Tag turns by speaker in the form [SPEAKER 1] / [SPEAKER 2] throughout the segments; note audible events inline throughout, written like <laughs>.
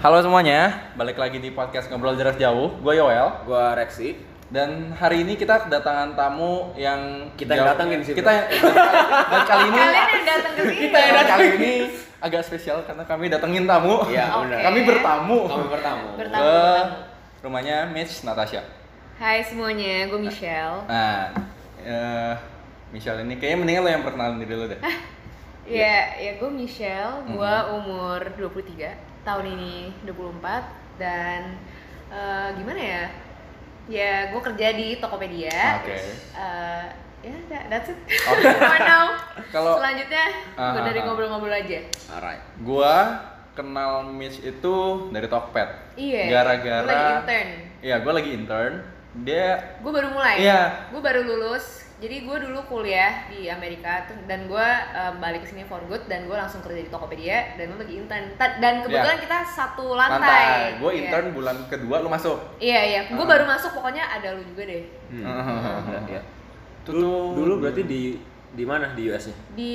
[SPEAKER 1] Halo semuanya, balik lagi di podcast Ngobrol Jarak Jauh. Gue Yoel
[SPEAKER 2] Gua Rexi.
[SPEAKER 1] dan hari ini kita kedatangan tamu yang
[SPEAKER 2] Kita yang datengin sih,
[SPEAKER 1] Kita
[SPEAKER 2] Bro.
[SPEAKER 1] yang dan kali ini
[SPEAKER 3] Kalian yang datang ke sini.
[SPEAKER 2] Kita yang
[SPEAKER 1] dan
[SPEAKER 2] datang.
[SPEAKER 1] kali ini agak spesial karena kami datengin tamu.
[SPEAKER 2] Iya,
[SPEAKER 3] Oh. Oke.
[SPEAKER 2] benar.
[SPEAKER 1] Kami bertamu.
[SPEAKER 2] Kami bertamu.
[SPEAKER 3] Bertamu.
[SPEAKER 1] Ke rumahnya Mitch Natasha.
[SPEAKER 3] Hai semuanya, gue Michelle.
[SPEAKER 1] Nah, eh, Michelle ini kayaknya mendingan lo yang perkenalan diri
[SPEAKER 3] <laughs>
[SPEAKER 1] lo deh. Iya.
[SPEAKER 3] Ya, ya gue Michelle, gue
[SPEAKER 1] Mm-hmm.
[SPEAKER 3] umur 23, tahun ini 24 dan eh, gimana ya? Ya, gue kerja di Tokopedia.
[SPEAKER 1] Oke.
[SPEAKER 3] Eh, ya, that- that's it.
[SPEAKER 1] Oke.
[SPEAKER 3] <laughs> For now.
[SPEAKER 1] Kalau-
[SPEAKER 3] Selanjutnya, gue
[SPEAKER 1] Ah, ah,
[SPEAKER 3] dari
[SPEAKER 1] ah.
[SPEAKER 3] ngobrol-ngobrol aja.
[SPEAKER 2] Alright.
[SPEAKER 1] Gua kenal Mitch itu dari Tokped.
[SPEAKER 3] Iya.
[SPEAKER 1] Gara-gara
[SPEAKER 3] Gue lagi intern.
[SPEAKER 1] Iya, gue lagi intern. Dia
[SPEAKER 3] Gue baru mulai.
[SPEAKER 1] Iya.
[SPEAKER 3] Gue baru lulus. Jadi gue dulu kuliah di Amerika tuh- dan gue em, balik ke sini for good dan gue langsung kerja di Tokopedia dan gue lagi intern. Ta- Dan kebetulan kita satu lantai.
[SPEAKER 1] Gue
[SPEAKER 3] Iya.
[SPEAKER 1] Iya. intern bulan kedua lu masuk.
[SPEAKER 3] Iya iya. Gue
[SPEAKER 1] Ah.
[SPEAKER 3] baru masuk pokoknya ada lu juga deh <laughs>
[SPEAKER 2] Ya.
[SPEAKER 1] Tuh,
[SPEAKER 2] Dulu,
[SPEAKER 1] tuh.
[SPEAKER 2] dulu berarti di di mana di US-nya?
[SPEAKER 3] di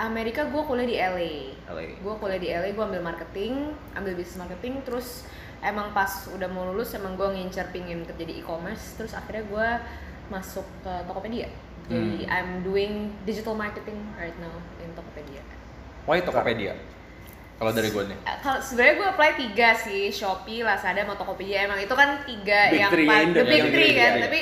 [SPEAKER 3] Amerika gue kuliah di LA.
[SPEAKER 2] LA.
[SPEAKER 3] Gue kuliah di LA, gue ambil marketing, ambil bisnis marketing, terus emang pas udah mau lulus emang gue ngincer pingin kerja di e-commerce, terus akhirnya gue masuk ke Tokopedia. Jadi
[SPEAKER 1] Hmm.
[SPEAKER 3] I'm doing digital marketing right now in Tokopedia.
[SPEAKER 1] Why Tokopedia? Kalau dari gue nih.
[SPEAKER 3] Eh, Kalau sebenarnya gue apply tiga sih, Shopee, Lazada, sama Tokopedia. Emang itu kan tiga
[SPEAKER 2] Big
[SPEAKER 3] yang
[SPEAKER 2] three ya,
[SPEAKER 3] paling the
[SPEAKER 2] Indo-
[SPEAKER 3] big
[SPEAKER 2] yang
[SPEAKER 3] three
[SPEAKER 2] big
[SPEAKER 3] kan.
[SPEAKER 2] three,
[SPEAKER 3] Tapi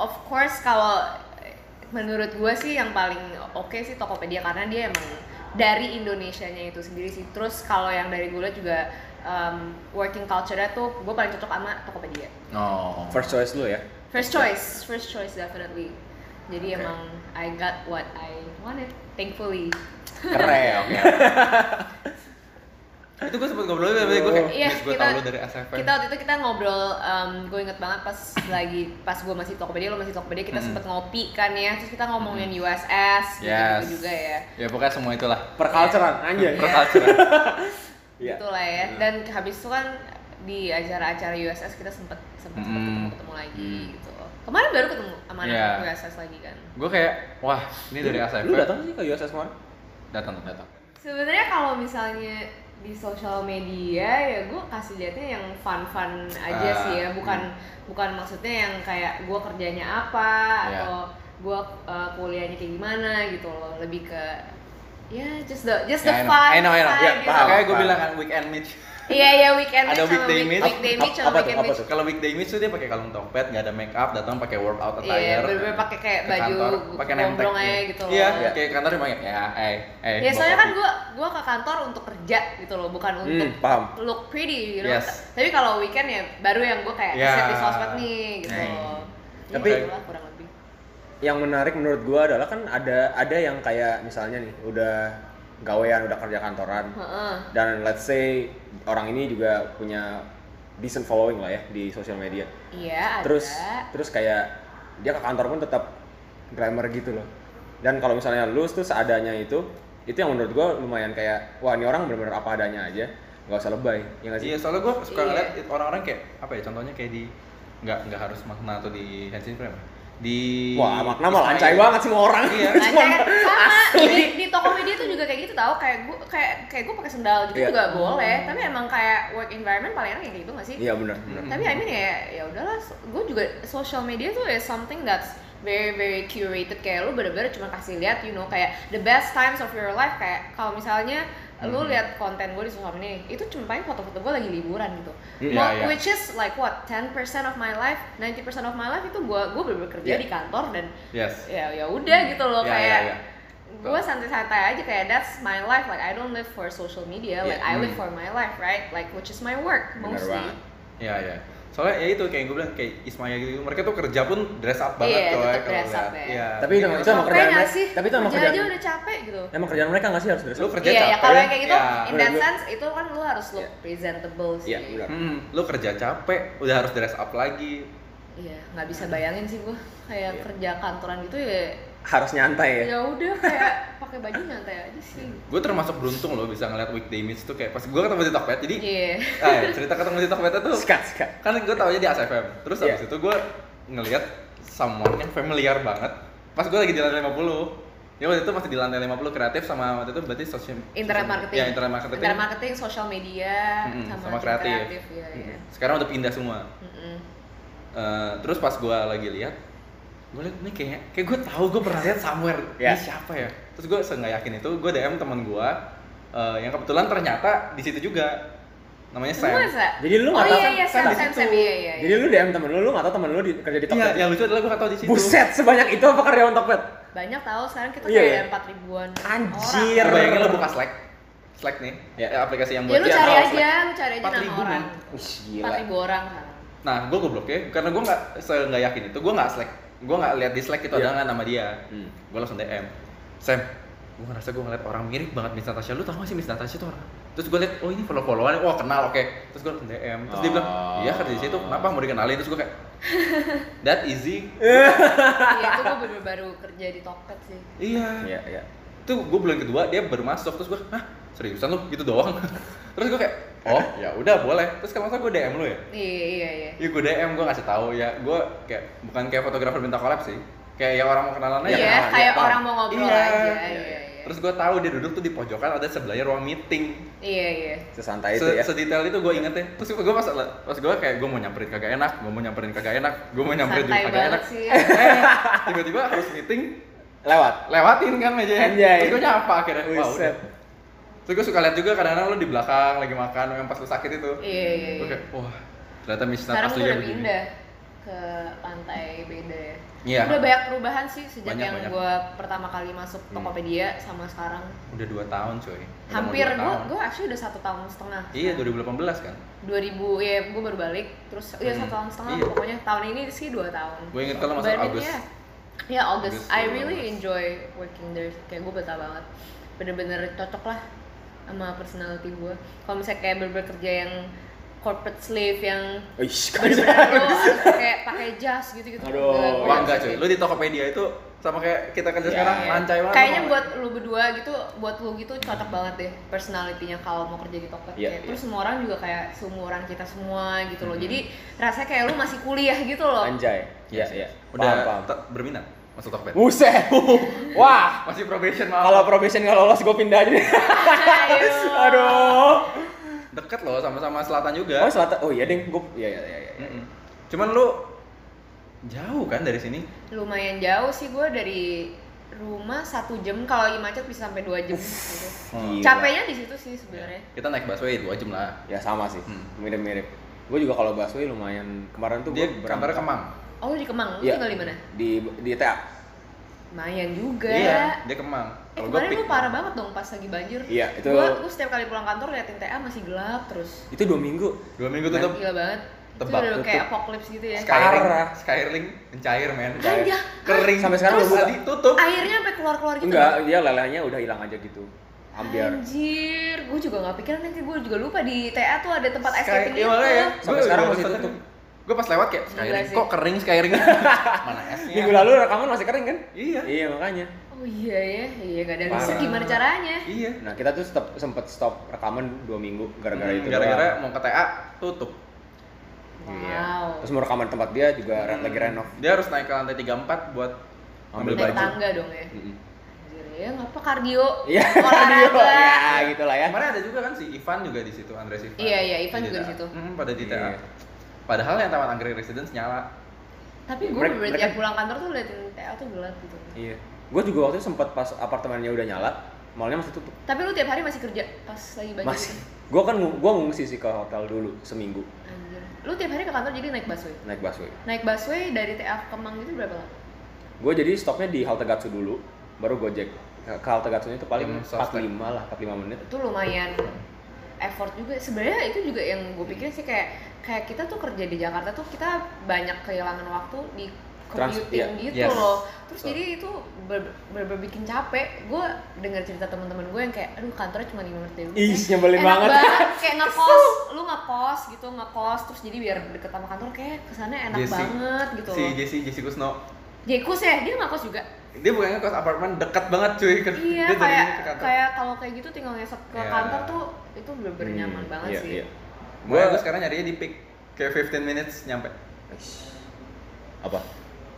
[SPEAKER 3] of course kalau eh, menurut gue sih yang paling oke sih Tokopedia karena dia emang dari Indonesianya itu sendiri sih. Terus kalau yang dari gue liat juga em, working culture-nya tuh gue paling cocok sama Tokopedia.
[SPEAKER 1] Oh.
[SPEAKER 2] First choice lu ya.
[SPEAKER 3] First choice, first choice definitely. Jadi
[SPEAKER 2] Oke.
[SPEAKER 3] emang I got what I wanted, thankfully.
[SPEAKER 1] Keren. oke. <laughs> Itu gue sempet ngobrol tapi gue kayak
[SPEAKER 3] Iya,
[SPEAKER 1] gue
[SPEAKER 3] kita-
[SPEAKER 1] tau lu dari SFM.
[SPEAKER 3] kita waktu itu kita ngobrol gue inget banget pas lagi pas gue masih Tokopedia lo masih Tokopedia kita
[SPEAKER 1] Mm.
[SPEAKER 3] sempet ngopi kan ya terus kita ngomongin
[SPEAKER 1] Hmm.
[SPEAKER 3] USS
[SPEAKER 1] Yes.
[SPEAKER 3] gitu juga ya
[SPEAKER 1] Ya pokoknya semua itulah.
[SPEAKER 2] Perculturean anjay.
[SPEAKER 3] Iya.
[SPEAKER 1] Perculturean.
[SPEAKER 2] Iya.
[SPEAKER 3] itulah ya dan habis itu kan di acara-acara USS kita sempet sempet, sempet
[SPEAKER 1] Mm.
[SPEAKER 3] ketemu, ketemu lagi
[SPEAKER 1] Mm.
[SPEAKER 3] gitu kemarin baru ketemu sama anak
[SPEAKER 1] Iya.
[SPEAKER 3] USS lagi kan
[SPEAKER 1] gue kayak wah ini dari SFM.
[SPEAKER 2] Lu datang sih ke USS kemarin?
[SPEAKER 1] Datang datang.
[SPEAKER 3] sebenarnya kalau misalnya di sosial media ya gue kasih liatnya yang fun-fun aja
[SPEAKER 1] Ah,
[SPEAKER 3] sih ya bukan bukan maksudnya yang kayak gue kerjanya apa
[SPEAKER 1] Iya.
[SPEAKER 3] atau gue kuliahnya kayak gimana gitu loh lebih ke ya just the just
[SPEAKER 1] Ya, I
[SPEAKER 3] the
[SPEAKER 1] know.
[SPEAKER 3] fun
[SPEAKER 1] I know, I know.
[SPEAKER 3] side
[SPEAKER 1] Ya,
[SPEAKER 3] gitu.
[SPEAKER 1] paham. Kayak gue
[SPEAKER 2] Paham.
[SPEAKER 1] bilang kan weekend Mitch.
[SPEAKER 3] iya iya
[SPEAKER 1] Ada
[SPEAKER 3] weekend match sama
[SPEAKER 1] weekday
[SPEAKER 3] week-
[SPEAKER 1] match.
[SPEAKER 3] weekday
[SPEAKER 2] Apa-
[SPEAKER 3] match sama
[SPEAKER 2] apa tuh,
[SPEAKER 3] weekend
[SPEAKER 2] apa
[SPEAKER 3] match
[SPEAKER 2] tuh?
[SPEAKER 1] Kalau weekday Mitch tuh dia pakai kalung topet, nggak ada make up, datang pakai workout attire.
[SPEAKER 3] Iya, bener-bener pakai kayak
[SPEAKER 1] ya? ke
[SPEAKER 3] baju
[SPEAKER 1] kantor, pakai name tag
[SPEAKER 3] gombrong aja gitu loh.
[SPEAKER 1] Iya, kayak kantor dia pakai ya, eh, eh.
[SPEAKER 3] ya
[SPEAKER 1] bawa
[SPEAKER 3] soalnya kan
[SPEAKER 1] kopi.
[SPEAKER 3] gue gue ke kantor untuk kerja gitu loh bukan untuk
[SPEAKER 2] Hmm, paham.
[SPEAKER 3] look pretty you know.
[SPEAKER 1] Yes.
[SPEAKER 3] Tapi kalau weekend ya baru yang gue kayak
[SPEAKER 1] Ya.
[SPEAKER 3] set di sosmed nih gitu.
[SPEAKER 1] Nah.
[SPEAKER 3] Ya,
[SPEAKER 2] Tapi-
[SPEAKER 3] itulah kurang lebih.
[SPEAKER 2] Yang menarik menurut gua adalah kan ada ada yang kayak misalnya nih udah gawean, udah kerja kantoran.
[SPEAKER 3] Heeh.
[SPEAKER 2] Dan let's say orang ini juga punya decent following lah ya di sosial media.
[SPEAKER 3] Iya, ada.
[SPEAKER 2] terus <laughs> terus kayak dia ke kantor pun tetap grammar gitu loh dan kalau misalnya lu tuh seadanya itu itu yang menurut gua lumayan kayak wah ini orang bener-bener apa adanya aja nggak usah lebay ya nggak sih
[SPEAKER 1] Iya, soalnya gue suka
[SPEAKER 3] Iya.
[SPEAKER 1] ngeliat orang-orang kayak apa ya? Contohnya kayak di nggak nggak harus makna atau di Hansin Frame. Di
[SPEAKER 2] wah makna mah
[SPEAKER 1] Ismail.
[SPEAKER 2] lancai banget semua orang
[SPEAKER 1] Iya.
[SPEAKER 2] <laughs>
[SPEAKER 3] Nah,
[SPEAKER 2] Cuman-
[SPEAKER 3] kayak- sama di, di Tokopedia tuh juga kayak gitu tau kayak gue kayak kayak gue pakai sendal gitu
[SPEAKER 2] Iya.
[SPEAKER 3] juga boleh tapi emang kayak work environment paling enak ya kayak gitu gak sih
[SPEAKER 2] iya bener bener
[SPEAKER 3] tapi
[SPEAKER 1] Hmm.
[SPEAKER 3] I mean ya ya udahlah gue juga social media tuh ya something that's very very curated kayak lu bener-bener cuma kasih lihat you know kayak the best times of your life kayak kalau misalnya lu
[SPEAKER 1] Hmm.
[SPEAKER 3] lihat konten gue di sosial media itu cuma paling foto-foto gue lagi liburan gitu
[SPEAKER 1] Hmm.
[SPEAKER 3] Well,
[SPEAKER 1] Iya, iya.
[SPEAKER 3] which is like what 10% of my life 90% of my life itu gue gue bener-bener kerja
[SPEAKER 2] Yeah.
[SPEAKER 3] di kantor dan
[SPEAKER 1] Yes.
[SPEAKER 3] ya ya udah gitu loh
[SPEAKER 1] Iya,
[SPEAKER 3] kayak
[SPEAKER 1] iya, iya.
[SPEAKER 3] gue santai-santai aja kayak that's my life like I don't live for social media like
[SPEAKER 1] Yeah.
[SPEAKER 3] I live
[SPEAKER 1] Hmm.
[SPEAKER 3] for my life right like which is my work
[SPEAKER 2] Bener
[SPEAKER 3] mostly
[SPEAKER 2] banget.
[SPEAKER 1] Iya, iya. Soalnya ya itu kayak gue bilang kayak Ismaya gitu. Mereka tuh kerja pun dress up banget
[SPEAKER 3] Iya,
[SPEAKER 1] coy,
[SPEAKER 3] tetap
[SPEAKER 1] kalau
[SPEAKER 3] dress up
[SPEAKER 1] lihat.
[SPEAKER 3] ya.
[SPEAKER 1] Iya.
[SPEAKER 2] Tapi itu- itu emang
[SPEAKER 3] Capek
[SPEAKER 2] kerjaan
[SPEAKER 3] nggak
[SPEAKER 2] mereka-
[SPEAKER 3] sih?
[SPEAKER 2] tapi itu emang
[SPEAKER 3] kerja aja
[SPEAKER 2] kerjaan-
[SPEAKER 3] udah capek gitu.
[SPEAKER 2] emang kerjaan mereka nggak sih harus dress
[SPEAKER 1] Lu
[SPEAKER 2] up?
[SPEAKER 1] kerja
[SPEAKER 3] Iya, ya
[SPEAKER 1] capek.
[SPEAKER 3] kalau yang kayak gitu,
[SPEAKER 1] Iya.
[SPEAKER 3] in
[SPEAKER 2] Bener,
[SPEAKER 3] that
[SPEAKER 2] bener.
[SPEAKER 3] sense itu kan lu harus look
[SPEAKER 2] Iya.
[SPEAKER 3] presentable sih.
[SPEAKER 2] Iya, bener.
[SPEAKER 1] Hmm, lu kerja capek, udah harus dress up lagi.
[SPEAKER 3] Iya, nggak bisa bayangin sih gua
[SPEAKER 2] Iya.
[SPEAKER 3] kayak kerja kantoran gitu ya.
[SPEAKER 2] harus nyantai
[SPEAKER 1] Iya,
[SPEAKER 2] ya
[SPEAKER 3] Ya udah kayak pakai baju nyantai aja sih.
[SPEAKER 1] Gue termasuk beruntung loh bisa ngeliat weekday image tuh kayak pas gue ketemu di Tokped. Jadi
[SPEAKER 3] Iya.
[SPEAKER 1] eh, cerita ketemu di Tokped tuh
[SPEAKER 2] sikat sikat
[SPEAKER 1] kan gue taunya di ASFM terus
[SPEAKER 2] Iya.
[SPEAKER 1] abis itu gue ngelihat someone yang familiar banget pas gue lagi di lantai 50 Jadi Ya, waktu itu masih di lantai 50 kreatif sama waktu itu berarti social
[SPEAKER 3] internet
[SPEAKER 2] Iya,
[SPEAKER 1] social-
[SPEAKER 3] marketing
[SPEAKER 1] Ya, internet marketing.
[SPEAKER 3] internet marketing social media
[SPEAKER 1] Mm-mm,
[SPEAKER 3] sama,
[SPEAKER 1] sama
[SPEAKER 3] tim
[SPEAKER 1] kreatif.
[SPEAKER 3] ya, ya.
[SPEAKER 1] Mm-mm. Sekarang udah pindah semua.
[SPEAKER 3] Mm-mm.
[SPEAKER 1] Eh, terus pas gua lagi lihat, gua lihat ini kayak kayak gua tahu gua pernah lihat somewhere
[SPEAKER 2] Ya.
[SPEAKER 1] ini siapa ya. Terus gua se- nggak yakin itu, gua DM teman gua eh, yang kebetulan ternyata di situ juga namanya Sam.
[SPEAKER 3] Masa?
[SPEAKER 2] Jadi lu
[SPEAKER 3] oh
[SPEAKER 2] nggak tahu
[SPEAKER 3] iya iya
[SPEAKER 1] Sam
[SPEAKER 3] Sam
[SPEAKER 1] di
[SPEAKER 3] Sam
[SPEAKER 1] situ.
[SPEAKER 3] Sam iya iya.
[SPEAKER 2] Jadi lu DM temen lu, lu nggak tahu temen lu di, kerja di
[SPEAKER 1] Iya,
[SPEAKER 2] Tokped. ya?
[SPEAKER 1] yang lucu adalah gua nggak tahu di situ.
[SPEAKER 2] Buset, sebanyak itu apa karyawan Tokped?
[SPEAKER 3] banyak tahu sekarang kita
[SPEAKER 2] Iya,
[SPEAKER 3] kayak
[SPEAKER 2] iya.
[SPEAKER 3] ada empat ribuan
[SPEAKER 2] Anjir.
[SPEAKER 3] orang.
[SPEAKER 1] Lu Iya, Bayangin lo buka Slack. Slack nih,
[SPEAKER 2] Ya.
[SPEAKER 1] ya, aplikasi yang
[SPEAKER 3] Ya
[SPEAKER 1] buat
[SPEAKER 3] lu
[SPEAKER 1] dia
[SPEAKER 3] cari
[SPEAKER 1] tahu
[SPEAKER 3] aja,
[SPEAKER 1] Slack.
[SPEAKER 3] lu cari aja nama
[SPEAKER 1] 4.000,
[SPEAKER 3] orang.
[SPEAKER 2] Wih,
[SPEAKER 3] Empat ribu orang kan.
[SPEAKER 1] Nah, gue goblok ya, karena gue nggak se nggak yakin itu, gue nggak slack, gue nggak lihat di slack itu
[SPEAKER 2] Iya.
[SPEAKER 1] ada nggak nama dia,
[SPEAKER 2] Hmm.
[SPEAKER 1] gue langsung DM, Sam, gue ngerasa gue ngeliat orang mirip banget Miss Natasha, lu tau gak sih Miss Natasha itu orang? Terus gue liat, oh ini follow followan, wah kenal, oke, terus gue langsung DM, terus dia bilang, iya kerja di situ, kenapa mau dikenalin? Terus gue
[SPEAKER 3] <laughs>
[SPEAKER 1] kayak, that easy,
[SPEAKER 3] Iya itu gue bener baru kerja di Tokped sih.
[SPEAKER 1] iya,
[SPEAKER 2] Iya, iya.
[SPEAKER 1] itu gue bulan kedua dia baru masuk, terus gue, hah seriusan lu gitu doang? <laughs> terus gue kayak, oh ya udah boleh, terus kalau masa gue DM lu ya?
[SPEAKER 3] Iya iya iya.
[SPEAKER 1] Iya gue DM, gue kasih tahu ya gue kayak bukan kayak fotografer minta collab sih kayak ya orang mau kenalan aja
[SPEAKER 3] Iya
[SPEAKER 1] kenalan, ya,
[SPEAKER 3] kayak
[SPEAKER 1] paham.
[SPEAKER 3] orang mau ngobrol
[SPEAKER 1] Iya.
[SPEAKER 3] aja.
[SPEAKER 1] Iya,
[SPEAKER 3] Iya
[SPEAKER 1] iya.
[SPEAKER 3] iya.
[SPEAKER 1] Terus gue tahu dia duduk tuh di pojokan ada sebelahnya ruang meeting.
[SPEAKER 3] Iya iya.
[SPEAKER 2] Sesantai itu
[SPEAKER 1] Se-
[SPEAKER 2] ya.
[SPEAKER 1] Sedetail itu gue ingetnya. Terus gue pas pas gue kayak gue mau nyamperin kagak enak, gue mau nyamperin kagak enak, gue mau nyamperin juga
[SPEAKER 3] Santai
[SPEAKER 1] kagak
[SPEAKER 3] banget
[SPEAKER 1] enak. <laughs>
[SPEAKER 3] sih.
[SPEAKER 1] Eh, tiba-tiba harus meeting
[SPEAKER 2] Lewat.
[SPEAKER 1] lewatin kan aja
[SPEAKER 2] Anjay.
[SPEAKER 1] Terus gue nyapa akhirnya. Wah, udah.
[SPEAKER 2] Buset.
[SPEAKER 1] Terus gue suka lihat juga kadang-kadang lo di belakang lagi makan yang pas lo sakit itu.
[SPEAKER 3] Iya iya
[SPEAKER 1] Gue
[SPEAKER 3] iya.
[SPEAKER 1] kayak wah ternyata Miss
[SPEAKER 3] Sekarang gue
[SPEAKER 1] Natasha
[SPEAKER 3] udah
[SPEAKER 1] begini.
[SPEAKER 3] pindah ke pantai beda ya.
[SPEAKER 1] Iya.
[SPEAKER 3] Udah banyak perubahan sih sejak
[SPEAKER 1] Banyak,
[SPEAKER 3] yang
[SPEAKER 1] banyak.
[SPEAKER 3] gue pertama kali masuk
[SPEAKER 1] Hmm.
[SPEAKER 3] Tokopedia sama sekarang.
[SPEAKER 1] Udah 2 tahun coy. Udah mau
[SPEAKER 3] Hampir
[SPEAKER 1] dua
[SPEAKER 3] gue
[SPEAKER 1] tahun.
[SPEAKER 3] gue actually udah satu tahun setengah. Nah,
[SPEAKER 1] Iya 2018 kan.
[SPEAKER 3] 2000 ya gue baru balik terus ya
[SPEAKER 1] Hmm.
[SPEAKER 3] satu tahun setengah
[SPEAKER 1] Iya.
[SPEAKER 3] pokoknya tahun ini sih dua tahun
[SPEAKER 1] Gue inget kalau masuk
[SPEAKER 3] But
[SPEAKER 1] Agus.
[SPEAKER 3] ya ya
[SPEAKER 1] August,
[SPEAKER 3] August I
[SPEAKER 1] bulan
[SPEAKER 3] really
[SPEAKER 1] August.
[SPEAKER 3] enjoy working there kayak gue betah banget bener-bener cocok lah sama personality gue kalau misalnya kayak bener-bener kerja yang corporate slave yang
[SPEAKER 2] Wih,
[SPEAKER 3] bener-bener lo harus kayak pakai jas gitu-gitu
[SPEAKER 2] Aduh.
[SPEAKER 3] Enggak, gue
[SPEAKER 1] Wah enggak
[SPEAKER 3] nggak
[SPEAKER 1] cuy,
[SPEAKER 3] suka.
[SPEAKER 1] lu di Tokopedia itu sama kayak kita kerja
[SPEAKER 2] Iya,
[SPEAKER 1] sekarang
[SPEAKER 2] iya.
[SPEAKER 1] lancai banget.
[SPEAKER 3] Kayaknya buat lu berdua gitu, buat lu gitu cocok banget deh personalitinya kalau mau kerja di
[SPEAKER 2] Iya,
[SPEAKER 3] Tokped. kayak.
[SPEAKER 2] iya.
[SPEAKER 3] Terus semua orang juga kayak seumuran kita semua gitu loh.
[SPEAKER 1] Mhm.
[SPEAKER 3] Jadi rasanya kayak lu masih kuliah gitu loh.
[SPEAKER 2] Anjay. Iya, iya.
[SPEAKER 1] Udah
[SPEAKER 2] Paham, paham.
[SPEAKER 1] te- berminat masuk Tokped.
[SPEAKER 2] Buset. <laughs> Wah.
[SPEAKER 1] Masih probation
[SPEAKER 2] Kalau
[SPEAKER 1] malah.
[SPEAKER 2] probation nggak lolos, gue pindah aja.
[SPEAKER 3] Ayo.
[SPEAKER 2] <laughs> Aduh.
[SPEAKER 1] Deket loh sama-sama selatan juga.
[SPEAKER 2] Oh selatan. Oh iya ding. Gue. Iya iya iya. iya.
[SPEAKER 1] Mm-mm. Cuman lu jauh kan dari sini?
[SPEAKER 3] Lumayan jauh sih gue dari rumah satu jam kalau lagi macet bisa sampai dua jam gitu.
[SPEAKER 2] Gila.
[SPEAKER 3] Capeknya di situ sih sebenarnya.
[SPEAKER 1] Kita naik busway 2 jam lah.
[SPEAKER 2] Ya sama sih.
[SPEAKER 1] Hmm.
[SPEAKER 2] Mirip-mirip. Gue juga kalau busway lumayan kemarin tuh
[SPEAKER 1] Dia
[SPEAKER 2] gua berangkat-
[SPEAKER 1] antara Kemang.
[SPEAKER 3] Oh lu di Kemang, lu
[SPEAKER 2] Iya.
[SPEAKER 3] tinggal di mana?
[SPEAKER 2] Di di TA.
[SPEAKER 3] Lumayan juga.
[SPEAKER 1] Iya, dia Kemang.
[SPEAKER 3] Eh
[SPEAKER 1] gua
[SPEAKER 3] kemarin
[SPEAKER 1] pick-
[SPEAKER 3] lu parah banget dong pas lagi banjir.
[SPEAKER 2] Iya, itu-
[SPEAKER 3] Gue setiap kali pulang kantor liatin TA masih gelap terus.
[SPEAKER 2] Itu dua minggu.
[SPEAKER 3] Oh,
[SPEAKER 1] Dua minggu tutup.
[SPEAKER 3] Gila banget.
[SPEAKER 1] Tebak,
[SPEAKER 3] itu udah kayak
[SPEAKER 2] tutup.
[SPEAKER 3] apocalypse gitu ya.
[SPEAKER 1] Skyrling,
[SPEAKER 2] Parah.
[SPEAKER 1] Skyrling mencair men.
[SPEAKER 2] Cair.
[SPEAKER 3] Anjay,
[SPEAKER 1] Kering.
[SPEAKER 2] Sampai sekarang
[SPEAKER 1] Terus
[SPEAKER 2] belum buka.
[SPEAKER 1] tadi tutup.
[SPEAKER 3] airnya sampai keluar-keluar gitu.
[SPEAKER 2] Enggak, dia lelehnya udah hilang aja gitu. Ambiar.
[SPEAKER 3] Anjir, gue juga gak pikiran nanti gue juga lupa di TA tuh ada tempat ice skating
[SPEAKER 1] Iya,
[SPEAKER 3] gitu.
[SPEAKER 1] makanya.
[SPEAKER 2] Sampai
[SPEAKER 1] Gua
[SPEAKER 2] sekarang
[SPEAKER 1] juga
[SPEAKER 2] masih
[SPEAKER 1] pas-
[SPEAKER 2] tutup.
[SPEAKER 1] Gua pas lewat kayak
[SPEAKER 3] Gila
[SPEAKER 1] Skyring
[SPEAKER 3] sih.
[SPEAKER 1] kok kering
[SPEAKER 2] <laughs>
[SPEAKER 1] Skyring mana esnya
[SPEAKER 2] Minggu lalu rekaman masih kering kan?
[SPEAKER 1] iya
[SPEAKER 2] Iya makanya.
[SPEAKER 3] Oh iya ya, iya gak ada
[SPEAKER 2] Parah.
[SPEAKER 3] listrik gimana caranya?
[SPEAKER 1] iya
[SPEAKER 2] Nah kita tuh stop, sempet stop rekaman dua minggu gara-gara
[SPEAKER 1] Hmm,
[SPEAKER 2] itu.
[SPEAKER 1] gara-gara
[SPEAKER 2] doang.
[SPEAKER 1] mau ke TA tutup
[SPEAKER 2] Iya.
[SPEAKER 3] Wow. Hmm.
[SPEAKER 2] Terus mau rekaman tempat dia juga re- lagi renov.
[SPEAKER 1] Hmm. dia harus naik ke lantai 34 buat ambil
[SPEAKER 2] Ambil
[SPEAKER 3] Naik
[SPEAKER 1] baju
[SPEAKER 3] tangga dong ya.
[SPEAKER 2] Mm-mm.
[SPEAKER 3] Anjir ya, ngapa kardio?
[SPEAKER 2] Iya.
[SPEAKER 3] <laughs> Olahraga.
[SPEAKER 2] Ya gitu lah ya.
[SPEAKER 1] kemarin ada juga kan si Ivan juga di situ Andres Ivan
[SPEAKER 3] Iya, iya, Ivan
[SPEAKER 1] Di
[SPEAKER 3] juga di
[SPEAKER 1] TA.
[SPEAKER 3] situ.
[SPEAKER 1] Hmm, pada di TA
[SPEAKER 2] Iya.
[SPEAKER 1] padahal yang taman Anggrek Residence nyala
[SPEAKER 3] Tapi gue
[SPEAKER 2] Mereka-
[SPEAKER 3] bener
[SPEAKER 2] mereka-
[SPEAKER 3] tiap pulang kantor tuh liatin TA tuh gelap gitu.
[SPEAKER 2] Iya. Gue juga waktu itu sempat pas apartemennya udah nyala, malnya masih tutup.
[SPEAKER 3] Tapi lu tiap hari masih kerja pas lagi banjir.
[SPEAKER 2] Masih.
[SPEAKER 3] gitu?
[SPEAKER 2] Gue kan ngu- gua ngungsi sih ke hotel dulu seminggu
[SPEAKER 3] Anjir. Lu tiap hari ke kantor jadi naik busway.
[SPEAKER 2] naik busway.
[SPEAKER 3] Naik busway dari TA ke Kemang itu berapa lama?
[SPEAKER 2] Gue jadi stopnya di halte Gatsu dulu, baru gojek. Ke ke halte Gatsunya itu paling
[SPEAKER 1] Hmm, soft
[SPEAKER 2] 45 lah, 45 menit.
[SPEAKER 3] itu lumayan effort juga sebenarnya itu juga yang gue pikir sih kayak kayak kita tuh kerja di Jakarta tuh kita banyak kehilangan waktu di
[SPEAKER 2] Trans-
[SPEAKER 3] commuting
[SPEAKER 2] iya,
[SPEAKER 3] gitu
[SPEAKER 1] yes.
[SPEAKER 3] loh terus
[SPEAKER 1] So.
[SPEAKER 3] jadi itu ber- ber- ber- bikin capek gue dengar cerita teman-teman gue yang kayak aduh kantornya cuma lima menit dulu
[SPEAKER 2] Ih, nyebelin
[SPEAKER 3] enak
[SPEAKER 2] banget.
[SPEAKER 3] kayak ngekos lu ngekos gitu ngekos terus jadi biar deket sama kantor kayak kesannya enak
[SPEAKER 1] Jesse.
[SPEAKER 3] banget gitu
[SPEAKER 1] si
[SPEAKER 3] loh
[SPEAKER 1] Jesse Jesse Kusno
[SPEAKER 3] Jekus ya dia ngekos juga
[SPEAKER 1] dia bukannya kos apartemen dekat banget cuy ke,
[SPEAKER 3] iya
[SPEAKER 1] dia
[SPEAKER 3] kayak
[SPEAKER 1] jadinya ke kantor
[SPEAKER 3] kayak kalau kayak gitu tinggal ngesot ke
[SPEAKER 1] Iya.
[SPEAKER 3] kantor tuh itu bener-bener
[SPEAKER 2] Hmm,
[SPEAKER 3] nyaman banget
[SPEAKER 2] iya,
[SPEAKER 3] sih
[SPEAKER 2] Iya.
[SPEAKER 1] gue gue sekarang nyarinya di pick kayak 15 minutes nyampe
[SPEAKER 2] Apa?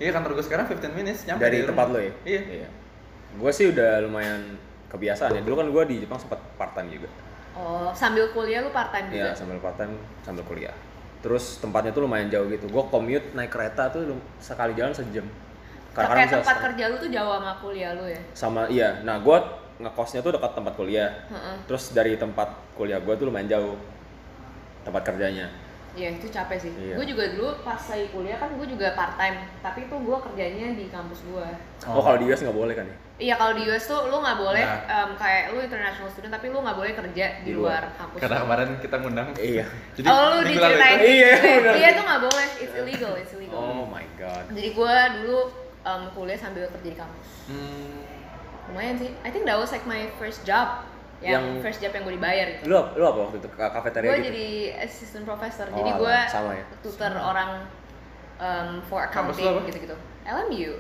[SPEAKER 1] iya kantor gue sekarang 15 minutes nyampe
[SPEAKER 2] Dari
[SPEAKER 1] rumah.
[SPEAKER 2] tempat lo ya?
[SPEAKER 1] iya
[SPEAKER 2] Gue sih udah lumayan kebiasaan ya. Dulu kan gue di Jepang sempat part time juga.
[SPEAKER 3] Oh, sambil kuliah lu part time
[SPEAKER 2] Iya,
[SPEAKER 3] juga?
[SPEAKER 2] sambil part time sambil kuliah. Terus tempatnya tuh lumayan jauh gitu. Gue commute naik kereta tuh lum- sekali jalan sejam. kan
[SPEAKER 3] Kayak
[SPEAKER 2] bisa
[SPEAKER 3] tempat
[SPEAKER 2] setengah-
[SPEAKER 3] kerja lu tuh jauh sama kuliah lu ya?
[SPEAKER 2] sama iya. Nah, gue ngekosnya tuh dekat tempat kuliah.
[SPEAKER 3] Heeh.
[SPEAKER 2] Terus dari tempat kuliah gue tuh lumayan jauh tempat kerjanya.
[SPEAKER 3] Iya itu capek sih.
[SPEAKER 2] Iya.
[SPEAKER 3] Gue juga dulu pas lagi kuliah kan gue juga part time, tapi itu gue kerjanya di kampus gue.
[SPEAKER 2] Oh, kalau di US nggak boleh kan ya?
[SPEAKER 3] Iya kalau di US tuh lu nggak boleh
[SPEAKER 1] Nah.
[SPEAKER 3] em, kayak lu international student tapi lu nggak boleh kerja
[SPEAKER 2] Di
[SPEAKER 3] di,
[SPEAKER 2] luar.
[SPEAKER 3] luar kampus.
[SPEAKER 1] Oh. Karena kemarin kita ngundang.
[SPEAKER 2] Iya.
[SPEAKER 3] oh lu
[SPEAKER 1] minggu lalu itu-
[SPEAKER 3] diceritain.
[SPEAKER 2] Iya, benar.
[SPEAKER 3] Iya tuh nggak boleh, it's illegal, it's illegal.
[SPEAKER 2] Oh my god.
[SPEAKER 3] Jadi gue dulu em, kuliah sambil kerja di kampus.
[SPEAKER 1] Hmm,
[SPEAKER 3] Lumayan sih. I think that was like my first job,
[SPEAKER 2] Yang-
[SPEAKER 3] yang, first job yang gue dibayar. Gitu.
[SPEAKER 2] Lu, apa- lu apa waktu itu? Ke kafeteria
[SPEAKER 3] Gue
[SPEAKER 2] gitu?
[SPEAKER 3] jadi assistant professor,
[SPEAKER 2] Oh,
[SPEAKER 3] jadi
[SPEAKER 2] alah,
[SPEAKER 3] gue
[SPEAKER 2] sama ya.
[SPEAKER 3] tutor orang em, for
[SPEAKER 1] Kampus
[SPEAKER 3] accounting
[SPEAKER 1] lu apa?
[SPEAKER 3] gitu-gitu. LMU.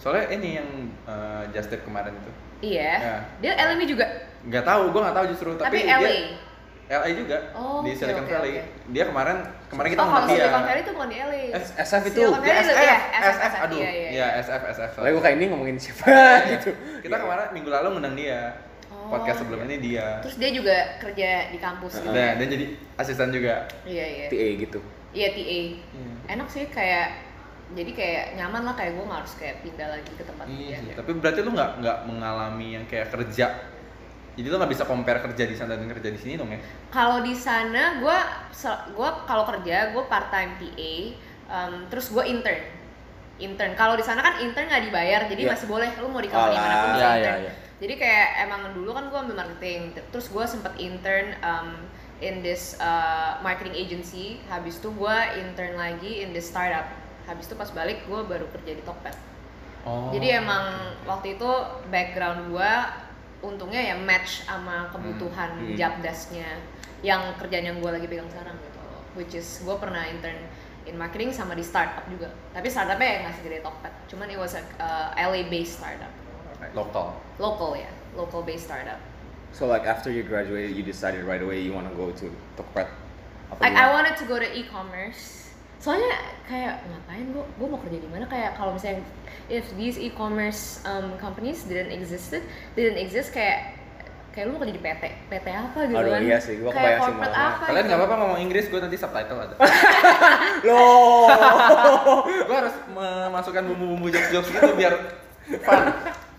[SPEAKER 1] Soalnya ini yang eh, Just Tip kemarin itu.
[SPEAKER 3] Iya.
[SPEAKER 1] Ya.
[SPEAKER 3] Dia LMU juga.
[SPEAKER 1] Nggak tahu, gue nggak tahu justru.
[SPEAKER 3] Tapi,
[SPEAKER 1] Tapi,
[SPEAKER 3] LA.
[SPEAKER 1] Dia, LA juga
[SPEAKER 3] Oh,
[SPEAKER 1] di
[SPEAKER 3] oke,
[SPEAKER 1] Silicon
[SPEAKER 3] oke,
[SPEAKER 1] Valley.
[SPEAKER 3] oke.
[SPEAKER 1] Dia kemarin kemarin kita
[SPEAKER 3] oh, kalau
[SPEAKER 1] ngundang dia.
[SPEAKER 3] Silicon Valley itu bukan di LA.
[SPEAKER 1] S-
[SPEAKER 2] SF itu.
[SPEAKER 3] Silicon
[SPEAKER 1] Dia
[SPEAKER 3] Valley itu
[SPEAKER 1] SF,
[SPEAKER 3] ya,
[SPEAKER 1] SF, aduh,
[SPEAKER 3] Iya, iya.
[SPEAKER 1] ya SF, SF.
[SPEAKER 2] Soalnya gue kayak ini ngomongin siapa gitu.
[SPEAKER 1] Kita kemarin minggu lalu ngundang dia.
[SPEAKER 3] Iya. Oh.
[SPEAKER 1] Podcast sebelum ini dia.
[SPEAKER 3] Terus dia juga kerja di kampus gitu.
[SPEAKER 1] Nah, dia jadi asisten juga.
[SPEAKER 3] Iya, iya.
[SPEAKER 2] TA gitu.
[SPEAKER 3] Iya, TA. Enak sih kayak jadi kayak nyaman lah kayak gue nggak harus kayak pindah lagi ke tempat
[SPEAKER 1] Iya,
[SPEAKER 3] kerja.
[SPEAKER 1] tapi berarti lu nggak nggak mengalami yang kayak kerja. Jadi lu nggak bisa compare kerja di sana dan kerja di sini dong ya?
[SPEAKER 3] Kalau di sana gue gua kalau kerja gue part time TA, em, terus gue intern. Intern. Kalau di sana kan intern nggak dibayar, jadi
[SPEAKER 2] Iya.
[SPEAKER 3] masih boleh lu mau di
[SPEAKER 2] Alah,
[SPEAKER 3] company manapun bisa
[SPEAKER 2] iya,
[SPEAKER 3] intern.
[SPEAKER 2] iya, iya.
[SPEAKER 3] Jadi kayak emang dulu kan gue ambil marketing, ter- terus gue sempet intern em, in this uh, marketing agency. Habis itu gue intern lagi in this startup. Habis itu pas balik gue baru kerja di Tokped.
[SPEAKER 1] Oh.
[SPEAKER 3] Jadi emang waktu itu background gua untungnya ya match sama kebutuhan
[SPEAKER 2] Hmm.
[SPEAKER 3] job desk-nya yang kerjaan yang gua lagi pegang sekarang gitu. Which is gua pernah intern in marketing sama di startup juga. Tapi startupnya ya nggak segede Tokped, cuman it was a LA based startup,
[SPEAKER 1] lokal.
[SPEAKER 3] local ya, local based startup.
[SPEAKER 2] So like after you graduated, you decided right away you wanna go to Tokped. Apa
[SPEAKER 1] Iya.
[SPEAKER 3] Like I
[SPEAKER 2] gimana?
[SPEAKER 3] wanted to go to e-commerce. Soalnya kayak ngapain gua gua mau kerja di mana kayak kalau misalnya if these e-commerce um, companies didn't existed, didn't exist kayak kayak lu mau kerja di PT, PT apa gitu
[SPEAKER 2] Aduh,
[SPEAKER 3] kan?
[SPEAKER 2] iya sih, gua
[SPEAKER 3] kayak
[SPEAKER 2] kebayang sih
[SPEAKER 3] corporate
[SPEAKER 2] malah.
[SPEAKER 3] apa?
[SPEAKER 1] Kalian
[SPEAKER 3] gitu.
[SPEAKER 1] nggak apa-apa ngomong Inggris, gue nanti subtitle <laughs> ada.
[SPEAKER 2] Loh.
[SPEAKER 3] <laughs>
[SPEAKER 1] gue harus memasukkan bumbu-bumbu jokes-jokes gitu biar fun.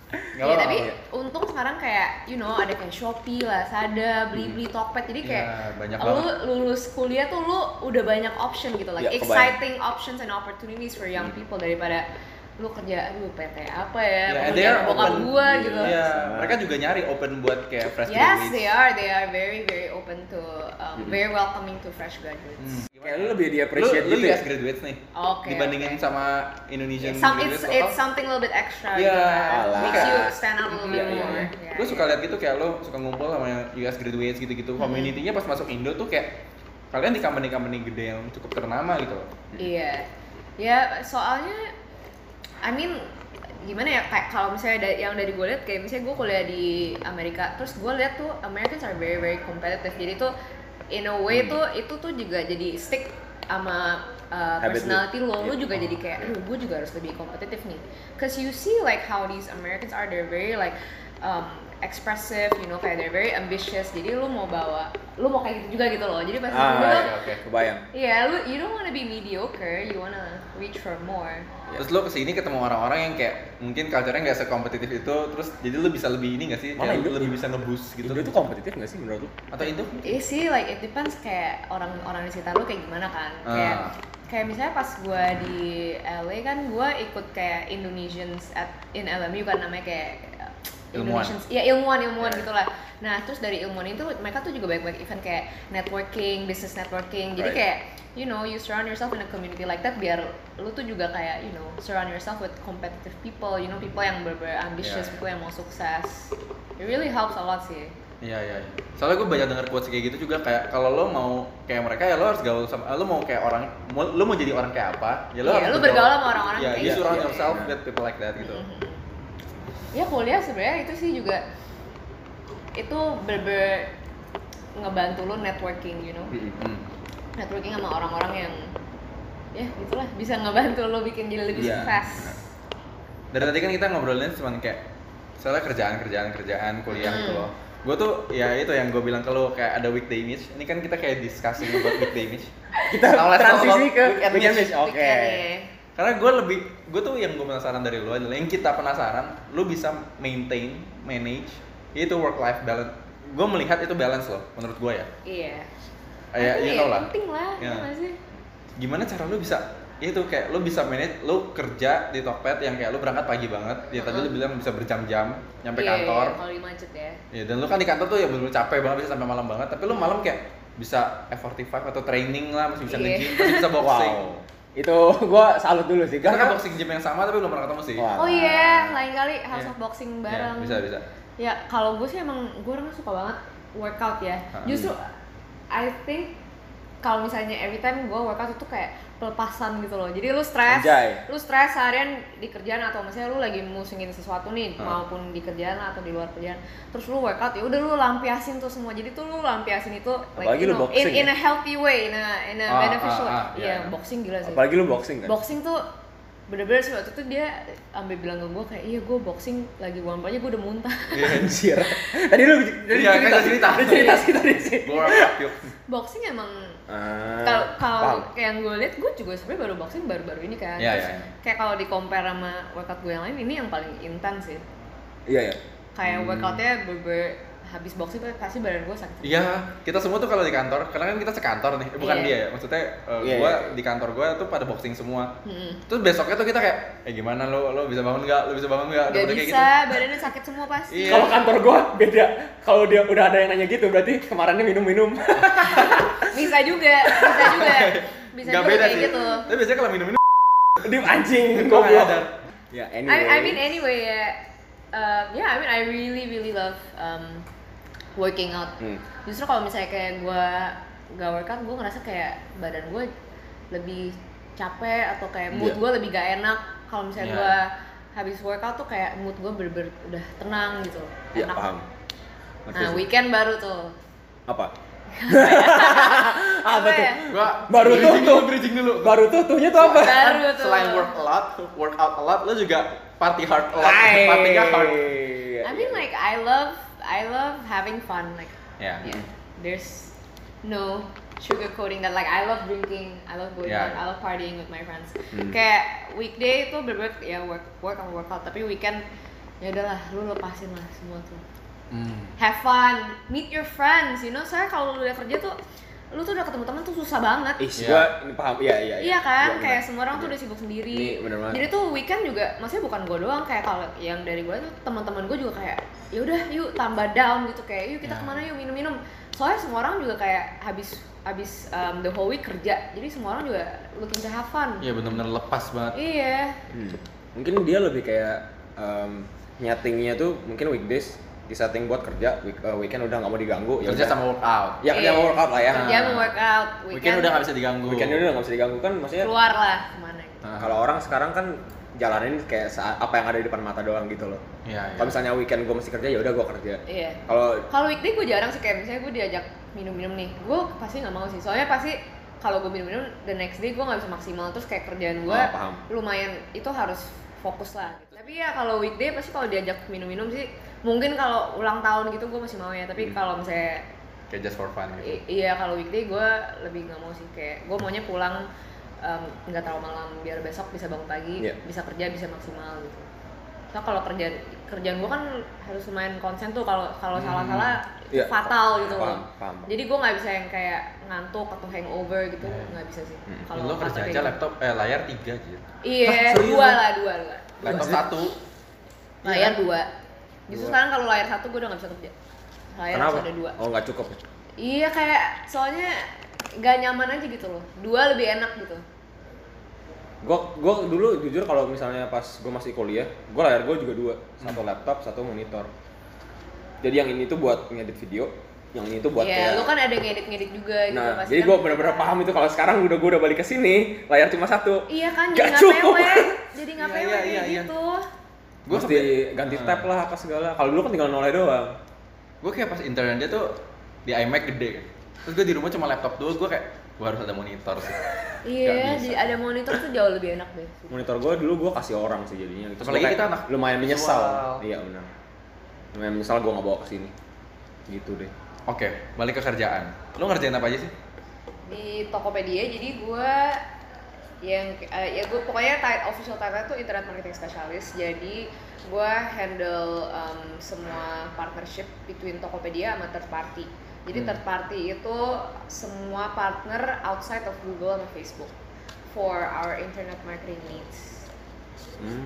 [SPEAKER 1] Nggak
[SPEAKER 3] Iya,
[SPEAKER 1] apa-apa.
[SPEAKER 3] tapi
[SPEAKER 1] Iya.
[SPEAKER 3] untung sekarang kayak you know ada kayak Shopee lah, Lazada, Blibli, Tokped jadi kayak
[SPEAKER 1] Iya, banyak
[SPEAKER 3] lu lulus kuliah tuh lu udah banyak option gitu like
[SPEAKER 2] Iya,
[SPEAKER 1] Ya,
[SPEAKER 2] kebayang.
[SPEAKER 3] exciting options and opportunities for young people daripada lu kerja aduh PT apa ya,
[SPEAKER 1] Hmm. Ya, they
[SPEAKER 3] mau kerja
[SPEAKER 1] are
[SPEAKER 3] bokap
[SPEAKER 1] open.
[SPEAKER 3] gua gitu
[SPEAKER 1] Iya, mereka juga nyari open buat kayak fresh
[SPEAKER 3] yes iya.
[SPEAKER 1] graduates.
[SPEAKER 3] they are they are very very open to um,
[SPEAKER 2] Mhm.
[SPEAKER 3] very welcoming to fresh graduates
[SPEAKER 1] Hmm.
[SPEAKER 2] Kayak lu lebih di-appreciate
[SPEAKER 1] Lu- lu
[SPEAKER 2] gitu ya?
[SPEAKER 1] US graduates nih.
[SPEAKER 3] Oke,
[SPEAKER 1] Dibandingin
[SPEAKER 3] oke.
[SPEAKER 1] sama Indonesian
[SPEAKER 3] Some, it's
[SPEAKER 1] graduates
[SPEAKER 3] it's something a little bit extra
[SPEAKER 1] Iya,
[SPEAKER 3] gitu kan.
[SPEAKER 2] alah.
[SPEAKER 3] makes you stand out a little bit
[SPEAKER 2] Iya, iya,
[SPEAKER 3] more
[SPEAKER 2] iya.
[SPEAKER 3] Yeah,
[SPEAKER 1] gue suka
[SPEAKER 3] yeah.
[SPEAKER 1] lihat gitu kayak lo suka ngumpul sama US graduates gitu-gitu
[SPEAKER 3] Hmm.
[SPEAKER 1] community-nya pas masuk Indo tuh kayak kalian di company-company gede yang cukup ternama gitu loh
[SPEAKER 2] Hmm.
[SPEAKER 3] Iya. Ya, soalnya I mean gimana ya kayak kalau misalnya da- yang dari gue lihat kayak misalnya gue kuliah di Amerika terus gue lihat tuh Americans are very very competitive jadi tuh in a way
[SPEAKER 2] Hmm.
[SPEAKER 3] tuh itu tuh juga jadi stick sama uh,
[SPEAKER 2] Habit lu.
[SPEAKER 3] personality lo lo
[SPEAKER 2] Iya.
[SPEAKER 3] juga jadi kayak aduh gue juga harus lebih kompetitif nih cause you see like how these Americans are they're very like um, expressive you know kayak they're very ambitious jadi lu mau bawa lu mau kayak gitu juga gitu loh jadi pas
[SPEAKER 2] Ah,
[SPEAKER 3] lu
[SPEAKER 2] iya,
[SPEAKER 1] oke oke
[SPEAKER 2] Kebayang.
[SPEAKER 3] Yeah, lu- you don't want to be mediocre. You want to reach for more.
[SPEAKER 1] terus lo kesini ketemu orang-orang yang kayak mungkin culture-nya nggak sekompetitif itu terus jadi lo bisa lebih ini nggak sih kayak
[SPEAKER 2] Malah Indo-
[SPEAKER 1] lebih bisa ngebus gitu
[SPEAKER 2] Indo tuh kompetitif nggak sih menurut lu?
[SPEAKER 1] atau Indo
[SPEAKER 3] Iya sih, Eh, like it depends kayak orang-orang di sekitar lu kayak gimana kan. Kayak
[SPEAKER 1] Ah.
[SPEAKER 3] kayak misalnya pas gua di LA kan gua ikut kayak Indonesians at in LMU kan namanya kayak uh,
[SPEAKER 1] Ilmuwan. Iya.
[SPEAKER 3] Indonesians, ya ilmuwan ilmuwan
[SPEAKER 2] Yeah.
[SPEAKER 3] gitu lah. Nah terus dari ilmuwan itu mereka tuh juga banyak-banyak event kayak networking, business networking. Jadi
[SPEAKER 2] Right.
[SPEAKER 3] kayak you know you surround yourself in a community like that biar lu tuh juga kayak you know surround yourself with competitive people, you know people yang bener-bener ambitious,
[SPEAKER 1] Yeah.
[SPEAKER 3] people yang mau sukses. It really helps a lot sih.
[SPEAKER 1] Iya iya. iya. Soalnya gue banyak denger quotes kayak gitu juga kayak kalau lo mau kayak mereka ya lo harus gaul sama lo mau kayak orang mau, lo mau jadi orang kayak apa ya lo
[SPEAKER 3] Iya,
[SPEAKER 1] harus
[SPEAKER 3] lo bergaul sama orang-orang
[SPEAKER 1] Iya,
[SPEAKER 3] kayak Hmm.
[SPEAKER 1] you
[SPEAKER 2] gitu.
[SPEAKER 1] surround
[SPEAKER 2] Iya,
[SPEAKER 1] yourself
[SPEAKER 2] iya.
[SPEAKER 1] with people like that gitu.
[SPEAKER 3] ya kuliah sebenarnya itu sih juga itu berber ngebantu lo networking you know
[SPEAKER 1] Hmm.
[SPEAKER 3] networking sama orang-orang yang ya gitulah bisa ngebantu lo bikin jadi lebih
[SPEAKER 2] Iya,
[SPEAKER 3] sukses
[SPEAKER 2] benar.
[SPEAKER 1] dari tadi kan kita ngobrolinnya cuma kayak soalnya kerjaan kerjaan kerjaan kuliah
[SPEAKER 3] Hmm.
[SPEAKER 1] gitu loh gue tuh ya itu yang gue bilang ke lo kayak ada weekday image ini kan kita kayak discussing about weekday image
[SPEAKER 2] <laughs> Kita
[SPEAKER 1] Now let's talk
[SPEAKER 2] transisi
[SPEAKER 1] about
[SPEAKER 2] ke
[SPEAKER 1] weekend
[SPEAKER 2] weekend
[SPEAKER 1] niche.
[SPEAKER 2] niche. Oke.
[SPEAKER 1] karena gue lebih gue tuh yang gue penasaran dari lo adalah yang kita penasaran lo bisa maintain manage itu work life balance gue melihat itu balance loh menurut gue ya
[SPEAKER 3] Iya.
[SPEAKER 1] ya
[SPEAKER 3] Tapi
[SPEAKER 1] you
[SPEAKER 3] ya
[SPEAKER 1] know lah
[SPEAKER 3] Penting lah,
[SPEAKER 1] Ya.
[SPEAKER 3] ya nggak sih?
[SPEAKER 1] gimana cara lu bisa ya itu kayak lu bisa manage lu kerja di Tokped yang kayak lu berangkat pagi banget ya tadi lu
[SPEAKER 3] Mm-mm.
[SPEAKER 1] bilang bisa berjam-jam nyampe
[SPEAKER 3] Iya,
[SPEAKER 1] kantor
[SPEAKER 3] iya, Kalau di macet ya.
[SPEAKER 1] ya dan lu kan di kantor tuh ya belum capek banget bisa sampai malam banget tapi lu malam kayak bisa F45 atau training lah masih bisa
[SPEAKER 3] Iya.
[SPEAKER 1] nge-gym masih bisa boxing
[SPEAKER 2] Wow. Itu <laughs> gua salut dulu sih.
[SPEAKER 1] kita kan
[SPEAKER 2] Karena
[SPEAKER 1] boxing gym yang sama tapi belum pernah ketemu sih
[SPEAKER 2] Wah.
[SPEAKER 3] Oh iya, lain kali harus
[SPEAKER 1] Iya.
[SPEAKER 3] boxing
[SPEAKER 1] Iya,
[SPEAKER 3] bareng.
[SPEAKER 1] bisa bisa
[SPEAKER 3] Ya kalau gue sih emang gue orangnya suka banget workout ya.
[SPEAKER 1] Ah.
[SPEAKER 3] Justru I think kalau misalnya every time gue workout itu kayak pelepasan gitu loh. Jadi lu stres,
[SPEAKER 2] Anjay.
[SPEAKER 3] lu stres seharian di kerjaan atau misalnya lu lagi musingin sesuatu nih,
[SPEAKER 1] Ah.
[SPEAKER 3] maupun di kerjaan atau di luar kerjaan. Terus lu workout ya udah lu lampiasin tuh semua. Jadi tuh lu lampiasin itu
[SPEAKER 2] Apalagi lu
[SPEAKER 3] you know,
[SPEAKER 2] boxing
[SPEAKER 3] in, in
[SPEAKER 2] ya?
[SPEAKER 3] a healthy way, in a in
[SPEAKER 1] Ah,
[SPEAKER 3] a
[SPEAKER 1] ah,
[SPEAKER 3] beneficial. way.
[SPEAKER 1] ah, iya,
[SPEAKER 3] Iya,
[SPEAKER 1] iya.
[SPEAKER 3] boxing gila sih
[SPEAKER 2] apalagi lu boxing kan.
[SPEAKER 3] boxing tuh bener-bener sih waktu itu dia ambil bilang ke gue kayak iya gue boxing lagi warm aja gue udah muntah <laughs>
[SPEAKER 2] Anjir. Tadi lu tadi
[SPEAKER 1] kan? Iya, kan gua
[SPEAKER 2] cerita,
[SPEAKER 1] cerita.
[SPEAKER 2] Lu cerita sih tadi sih.
[SPEAKER 1] gue orang aktif
[SPEAKER 3] boxing emang
[SPEAKER 1] Eh,
[SPEAKER 2] Ah,
[SPEAKER 3] kalau kalau
[SPEAKER 2] paham.
[SPEAKER 3] kayak yang gue lihat gue juga sebenarnya baru boxing baru-baru ini kan
[SPEAKER 1] Iya,
[SPEAKER 3] Terus
[SPEAKER 1] iya, iya.
[SPEAKER 3] kayak kalau di compare sama workout gue yang lain ini yang paling intens sih
[SPEAKER 2] Iya ya.
[SPEAKER 1] Hmm.
[SPEAKER 3] kayak workoutnya bener habis boxing pasti badan gue sakit
[SPEAKER 1] Iya, kita semua tuh kalau di kantor, karena kan kita sekantor nih, eh, bukan
[SPEAKER 3] Iya.
[SPEAKER 1] dia ya. Maksudnya eh,
[SPEAKER 2] Iya,
[SPEAKER 1] gua
[SPEAKER 2] iya, iya.
[SPEAKER 1] di kantor gua tuh pada boxing semua.
[SPEAKER 3] Mm-mm.
[SPEAKER 1] Terus besoknya tuh kita kayak, eh gimana lo, lo bisa bangun nggak, lo bisa bangun nggak, Udah
[SPEAKER 3] Gak
[SPEAKER 1] kayak gitu.
[SPEAKER 3] bisa, badannya sakit semua pasti.
[SPEAKER 1] Iya.
[SPEAKER 2] Kalau kantor gua beda. Kalau dia udah ada yang nanya gitu berarti kemarinnya minum-minum. <laughs>
[SPEAKER 3] Bisa juga, bisa
[SPEAKER 1] <laughs>
[SPEAKER 3] juga. Bisa
[SPEAKER 1] Nggak
[SPEAKER 3] juga
[SPEAKER 1] beda
[SPEAKER 3] kayak
[SPEAKER 1] sih.
[SPEAKER 3] gitu.
[SPEAKER 1] Tapi biasanya kalau minum-minum,
[SPEAKER 2] Di anjing
[SPEAKER 1] Gua nggak
[SPEAKER 2] goblok.
[SPEAKER 1] sadar.
[SPEAKER 2] Ya,
[SPEAKER 3] I, I
[SPEAKER 2] anyway.
[SPEAKER 3] mean anyway ya um, yeah I mean I really really love um, working out
[SPEAKER 2] Hmm.
[SPEAKER 3] justru kalau misalnya kayak gue gak workout gue ngerasa kayak badan gue lebih capek atau kayak mood
[SPEAKER 2] Iya.
[SPEAKER 3] gue lebih gak enak kalau misalnya
[SPEAKER 1] Iya.
[SPEAKER 3] gue habis workout tuh kayak mood gue bener-bener udah tenang gitu
[SPEAKER 2] Iya,
[SPEAKER 3] enak
[SPEAKER 2] paham. Ngerti
[SPEAKER 3] nah
[SPEAKER 2] sih.
[SPEAKER 3] weekend baru tuh
[SPEAKER 2] Apa? Ah,
[SPEAKER 3] apa ya
[SPEAKER 1] gua
[SPEAKER 2] Baru
[SPEAKER 1] bridging
[SPEAKER 2] tuh, tuh.
[SPEAKER 1] dulu, bridging dulu.
[SPEAKER 2] Baru tuh tuhnya tuh apa?
[SPEAKER 1] Kan
[SPEAKER 3] Baru tuh.
[SPEAKER 1] Selain work a lot, work out a lot, lo juga party hard a lot,
[SPEAKER 2] Hai. Iya.
[SPEAKER 1] party gak hard.
[SPEAKER 3] I mean like I love I love having fun like
[SPEAKER 1] Ya.
[SPEAKER 3] yeah, there's no sugarcoating that. Like I love drinking, I love going
[SPEAKER 1] Yeah.
[SPEAKER 3] out, I love partying with my friends.
[SPEAKER 2] Hmm.
[SPEAKER 3] Kayak weekday itu bener ya work work sama workout, tapi weekend ya udahlah lu lepasin lah semua tuh.
[SPEAKER 1] Hmm.
[SPEAKER 3] Have fun, meet your friends, you know. Saya kalau lu udah kerja tuh lu tuh udah ketemu teman tuh susah banget.
[SPEAKER 2] Ih,
[SPEAKER 1] Iya.
[SPEAKER 2] gua ini paham. Iya, iya, iya.
[SPEAKER 3] Iya kan,
[SPEAKER 2] Gua benar.
[SPEAKER 3] kayak semua orang tuh udah sibuk sendiri.
[SPEAKER 2] Ini bener banget.
[SPEAKER 3] Jadi tuh weekend juga, maksudnya bukan gue doang, kayak kalau yang dari gue tuh teman-teman gue juga kayak, ya udah yuk tambah down gitu kayak, yuk kita
[SPEAKER 1] Ya.
[SPEAKER 3] kemana yuk minum-minum. Soalnya semua orang juga kayak habis habis um, the whole week kerja, jadi semua orang juga looking to have fun.
[SPEAKER 1] Iya benar-benar lepas banget.
[SPEAKER 3] Iya,
[SPEAKER 2] Hmm. Mungkin dia lebih kayak em, nyatingnya tuh mungkin weekdays disetting buat kerja, week- eh, weekend udah nggak mau diganggu. ya
[SPEAKER 1] Kerja
[SPEAKER 2] udah.
[SPEAKER 1] sama work out.
[SPEAKER 2] Ya kerja sama
[SPEAKER 3] Iya.
[SPEAKER 2] workout lah ya.
[SPEAKER 3] kerja mau workout,
[SPEAKER 1] Weekend,
[SPEAKER 3] weekend,
[SPEAKER 1] udah nggak bisa diganggu.
[SPEAKER 2] Weekend udah nggak bisa diganggu kan maksudnya.
[SPEAKER 3] keluar lah kemana. gitu.
[SPEAKER 1] Nah,
[SPEAKER 2] Kalau orang sekarang kan jalanin kayak saat, apa yang ada di depan mata doang gitu loh.
[SPEAKER 1] Iya. iya.
[SPEAKER 2] Kalau misalnya weekend gue masih kerja ya udah gue kerja.
[SPEAKER 3] Iya.
[SPEAKER 2] Kalau
[SPEAKER 3] Kalau weekday gue jarang sih kayak misalnya gue diajak minum-minum nih, gue pasti nggak mau sih. Soalnya pasti kalau gue minum-minum the next day gue nggak bisa maksimal terus kayak kerjaan gue
[SPEAKER 2] Oh, paham.
[SPEAKER 3] lumayan itu harus fokus lah. Gitu. Tapi ya kalau weekday pasti kalau diajak minum-minum sih mungkin kalau ulang tahun gitu gue masih mau ya.
[SPEAKER 2] Hmm.
[SPEAKER 3] Tapi kalau misalnya
[SPEAKER 1] Kayak just for fun gitu.
[SPEAKER 3] i- iya kalau weekday gue lebih nggak mau sih kayak gue maunya pulang em, nggak terlalu malam biar besok bisa bangun pagi
[SPEAKER 2] Iya.
[SPEAKER 3] bisa kerja bisa maksimal gitu. So kalau kerjaan kerjaan gue kan harus lumayan konsen tuh kalau kalau salah-salah itu
[SPEAKER 2] Hmm. Iya.
[SPEAKER 3] fatal gitu
[SPEAKER 2] Paham,
[SPEAKER 3] loh.
[SPEAKER 2] paham.
[SPEAKER 3] Jadi gue nggak bisa yang kayak ngantuk atau hangover gitu
[SPEAKER 1] Iya.
[SPEAKER 3] nggak bisa sih.
[SPEAKER 2] Hmm.
[SPEAKER 3] Kalau
[SPEAKER 1] lo
[SPEAKER 3] fase
[SPEAKER 1] kerja
[SPEAKER 3] kayak
[SPEAKER 1] aja
[SPEAKER 3] gitu.
[SPEAKER 1] laptop, eh layar tiga gitu.
[SPEAKER 3] Iya,
[SPEAKER 2] serius
[SPEAKER 3] dua
[SPEAKER 2] lo?
[SPEAKER 3] lah, dua lah.
[SPEAKER 1] Laptop
[SPEAKER 2] Maksudnya?
[SPEAKER 1] satu.
[SPEAKER 3] Layar dua.
[SPEAKER 2] Iya.
[SPEAKER 3] Justru
[SPEAKER 2] Dua.
[SPEAKER 3] sekarang kalau layar satu gue udah nggak bisa kerja. Layar
[SPEAKER 2] kenapa?
[SPEAKER 3] harus ada dua.
[SPEAKER 2] Oh nggak cukup.
[SPEAKER 3] Iya kayak soalnya nggak nyaman aja gitu loh. Dua lebih enak gitu.
[SPEAKER 2] Gue gue dulu jujur kalau misalnya pas gue masih kuliah, gue layar gue juga dua,
[SPEAKER 3] Hmm.
[SPEAKER 2] satu laptop, satu monitor. Jadi yang ini tuh buat ngedit video, yang ini tuh buat
[SPEAKER 3] Iya,
[SPEAKER 2] kayak
[SPEAKER 3] lu kan ada ngedit-ngedit juga gitu
[SPEAKER 2] Nah,
[SPEAKER 3] pasti
[SPEAKER 2] jadi
[SPEAKER 3] kan.
[SPEAKER 2] gue bener-bener paham itu kalau sekarang udah gue udah balik ke sini, layar cuma satu.
[SPEAKER 3] Iya kan,
[SPEAKER 2] Nggak
[SPEAKER 3] jadi nggak
[SPEAKER 2] cukup.
[SPEAKER 3] pewek, jadi nggak
[SPEAKER 1] Iya,
[SPEAKER 3] pewek
[SPEAKER 1] iya,
[SPEAKER 3] kayak
[SPEAKER 1] iya, iya.
[SPEAKER 3] gitu.
[SPEAKER 1] Gua
[SPEAKER 2] Mesti ganti tab lah apa segala. Kalau dulu kan tinggal nolnya doang.
[SPEAKER 1] Gue kayak pas intern dia tuh di iMac gede kan. terus gue di rumah cuma laptop doang gue kayak gue harus ada monitor sih
[SPEAKER 3] Iya,
[SPEAKER 1] bisa.
[SPEAKER 3] jadi ada monitor tuh jauh lebih enak deh.
[SPEAKER 2] monitor gue dulu gue kasih orang sih jadinya gitu.
[SPEAKER 1] Apalagi
[SPEAKER 2] Gua kayak
[SPEAKER 1] kita anak
[SPEAKER 2] lumayan menyesal
[SPEAKER 1] visual.
[SPEAKER 2] iya benar lumayan menyesal gue nggak bawa ke sini gitu deh
[SPEAKER 1] oke balik ke kerjaan lo ngerjain apa aja sih
[SPEAKER 3] Di Tokopedia jadi gue yang eh, ya gue pokoknya ti- official title tuh internet marketing specialist. Jadi gue handle em, semua partnership between Tokopedia sama third party. Jadi
[SPEAKER 1] Hmm.
[SPEAKER 3] third party itu semua partner outside of Google sama Facebook for our internet marketing needs.
[SPEAKER 2] Hmm.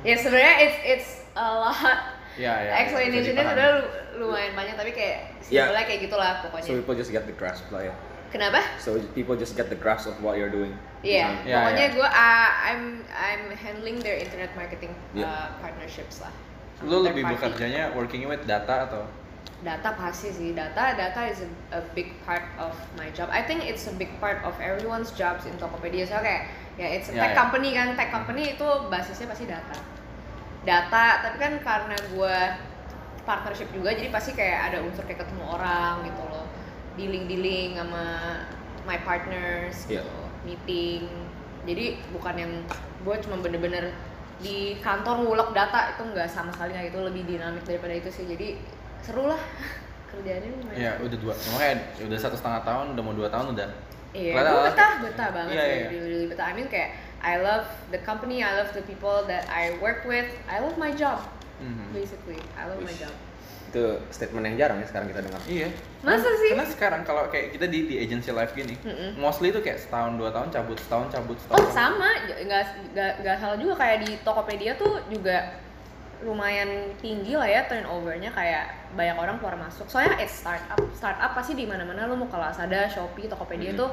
[SPEAKER 3] Ya sebenarnya it's it's a lot
[SPEAKER 1] Hmm. ya ya
[SPEAKER 3] explanationnya
[SPEAKER 1] bisa
[SPEAKER 3] sebenarnya
[SPEAKER 1] dipahami.
[SPEAKER 3] lu- lumayan banyak tapi kayak
[SPEAKER 2] Ya.
[SPEAKER 3] simpelnya kayak gitulah pokoknya.
[SPEAKER 2] so people just get the grasp lah ya
[SPEAKER 3] Kenapa?
[SPEAKER 2] so people just get the grasp of what you're doing
[SPEAKER 3] Iya,
[SPEAKER 1] Iya,
[SPEAKER 3] pokoknya
[SPEAKER 1] iya.
[SPEAKER 3] gue uh, I'm I'm handling their internet marketing uh,
[SPEAKER 2] Iya.
[SPEAKER 3] partnerships lah.
[SPEAKER 1] lu
[SPEAKER 3] Third
[SPEAKER 1] lebih
[SPEAKER 3] party.
[SPEAKER 1] bekerjanya working with data atau
[SPEAKER 3] Data pasti sih, data data is a, a big part of my job. I think it's a big part of everyone's jobs in Tokopedia. So kayak ya it's a
[SPEAKER 1] Iya,
[SPEAKER 3] tech
[SPEAKER 1] iya. Hmm.
[SPEAKER 3] company kan, tech company itu basisnya pasti data. Data, tapi kan karena gue partnership juga, jadi pasti kayak ada unsur kayak ketemu orang gitu loh, dealing-dealing sama my partners
[SPEAKER 2] Iya.
[SPEAKER 3] gitu, meeting. Jadi bukan yang gue cuma bener-bener di kantor ngulek data itu nggak sama sekali nggak itu lebih dinamik daripada itu sih. Jadi seru lah <laughs> kerjaannya lumayan.
[SPEAKER 1] ya udah dua makanya udah satu setengah tahun udah mau dua tahun udah
[SPEAKER 3] Iya,
[SPEAKER 1] Kelihatan
[SPEAKER 3] gue
[SPEAKER 1] lah.
[SPEAKER 3] betah, betah banget
[SPEAKER 1] Iya,
[SPEAKER 3] sih,
[SPEAKER 1] iya.
[SPEAKER 3] really, really betah. I mean kayak I love the company, I love the people that I work with, I love my job
[SPEAKER 1] Mhm.
[SPEAKER 3] basically, I love my
[SPEAKER 2] Wish.
[SPEAKER 3] job.
[SPEAKER 2] itu statement yang jarang ya sekarang kita dengar
[SPEAKER 1] iya
[SPEAKER 3] Masa
[SPEAKER 1] Karena-
[SPEAKER 3] sih?
[SPEAKER 1] karena sekarang kalau kayak kita di di agency life gini
[SPEAKER 3] Mm-mm.
[SPEAKER 1] mostly itu kayak setahun dua tahun cabut setahun cabut setahun
[SPEAKER 3] Oh sama, J- nggak nggak nggak salah juga kayak di Tokopedia tuh juga lumayan tinggi lah ya turnovernya kayak banyak orang keluar masuk. Soalnya it's startup, startup pasti di mana-mana lu mau ke Lazada, Shopee, Tokopedia
[SPEAKER 2] Mhm.
[SPEAKER 3] tuh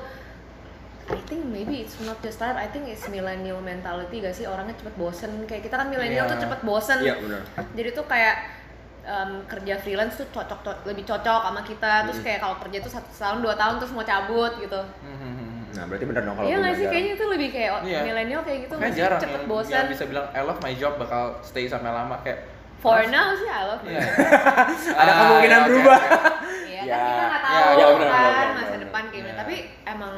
[SPEAKER 3] I think maybe it's not just startup, I think it's millennial mentality gak sih orangnya cepet bosen kayak kita kan millennial
[SPEAKER 1] Iya.
[SPEAKER 3] tuh cepet bosen
[SPEAKER 2] iya benar
[SPEAKER 3] jadi tuh kayak em, kerja freelance tuh cocok to- lebih cocok sama kita terus
[SPEAKER 2] Mm.
[SPEAKER 3] kayak kalau kerja tuh satu tahun dua tahun terus mau cabut gitu
[SPEAKER 1] Mhm.
[SPEAKER 2] nah berarti benar dong kalau
[SPEAKER 3] iya
[SPEAKER 2] gua
[SPEAKER 3] nggak
[SPEAKER 2] bilang
[SPEAKER 3] sih
[SPEAKER 2] jarang.
[SPEAKER 3] kayaknya itu lebih kayak oh,
[SPEAKER 1] Iya.
[SPEAKER 3] milenial kayak gitu
[SPEAKER 1] Makanya
[SPEAKER 3] nggak sih?
[SPEAKER 1] jarang
[SPEAKER 3] cepet
[SPEAKER 1] yang,
[SPEAKER 3] bosan
[SPEAKER 1] yang bisa bilang I love my job bakal stay sampai lama kayak
[SPEAKER 3] for now sih I love
[SPEAKER 1] Iya.
[SPEAKER 3] it.
[SPEAKER 2] <laughs> ada
[SPEAKER 1] Ah,
[SPEAKER 2] kemungkinan
[SPEAKER 1] iya, oke,
[SPEAKER 2] berubah
[SPEAKER 3] Iya
[SPEAKER 2] Ya.
[SPEAKER 3] kan kita nggak
[SPEAKER 1] Ya,
[SPEAKER 3] tahu
[SPEAKER 1] ya,
[SPEAKER 3] kan
[SPEAKER 1] benar, benar, benar,
[SPEAKER 3] masa
[SPEAKER 2] benar.
[SPEAKER 3] depan kayak gimana.
[SPEAKER 1] Ya.
[SPEAKER 3] tapi emang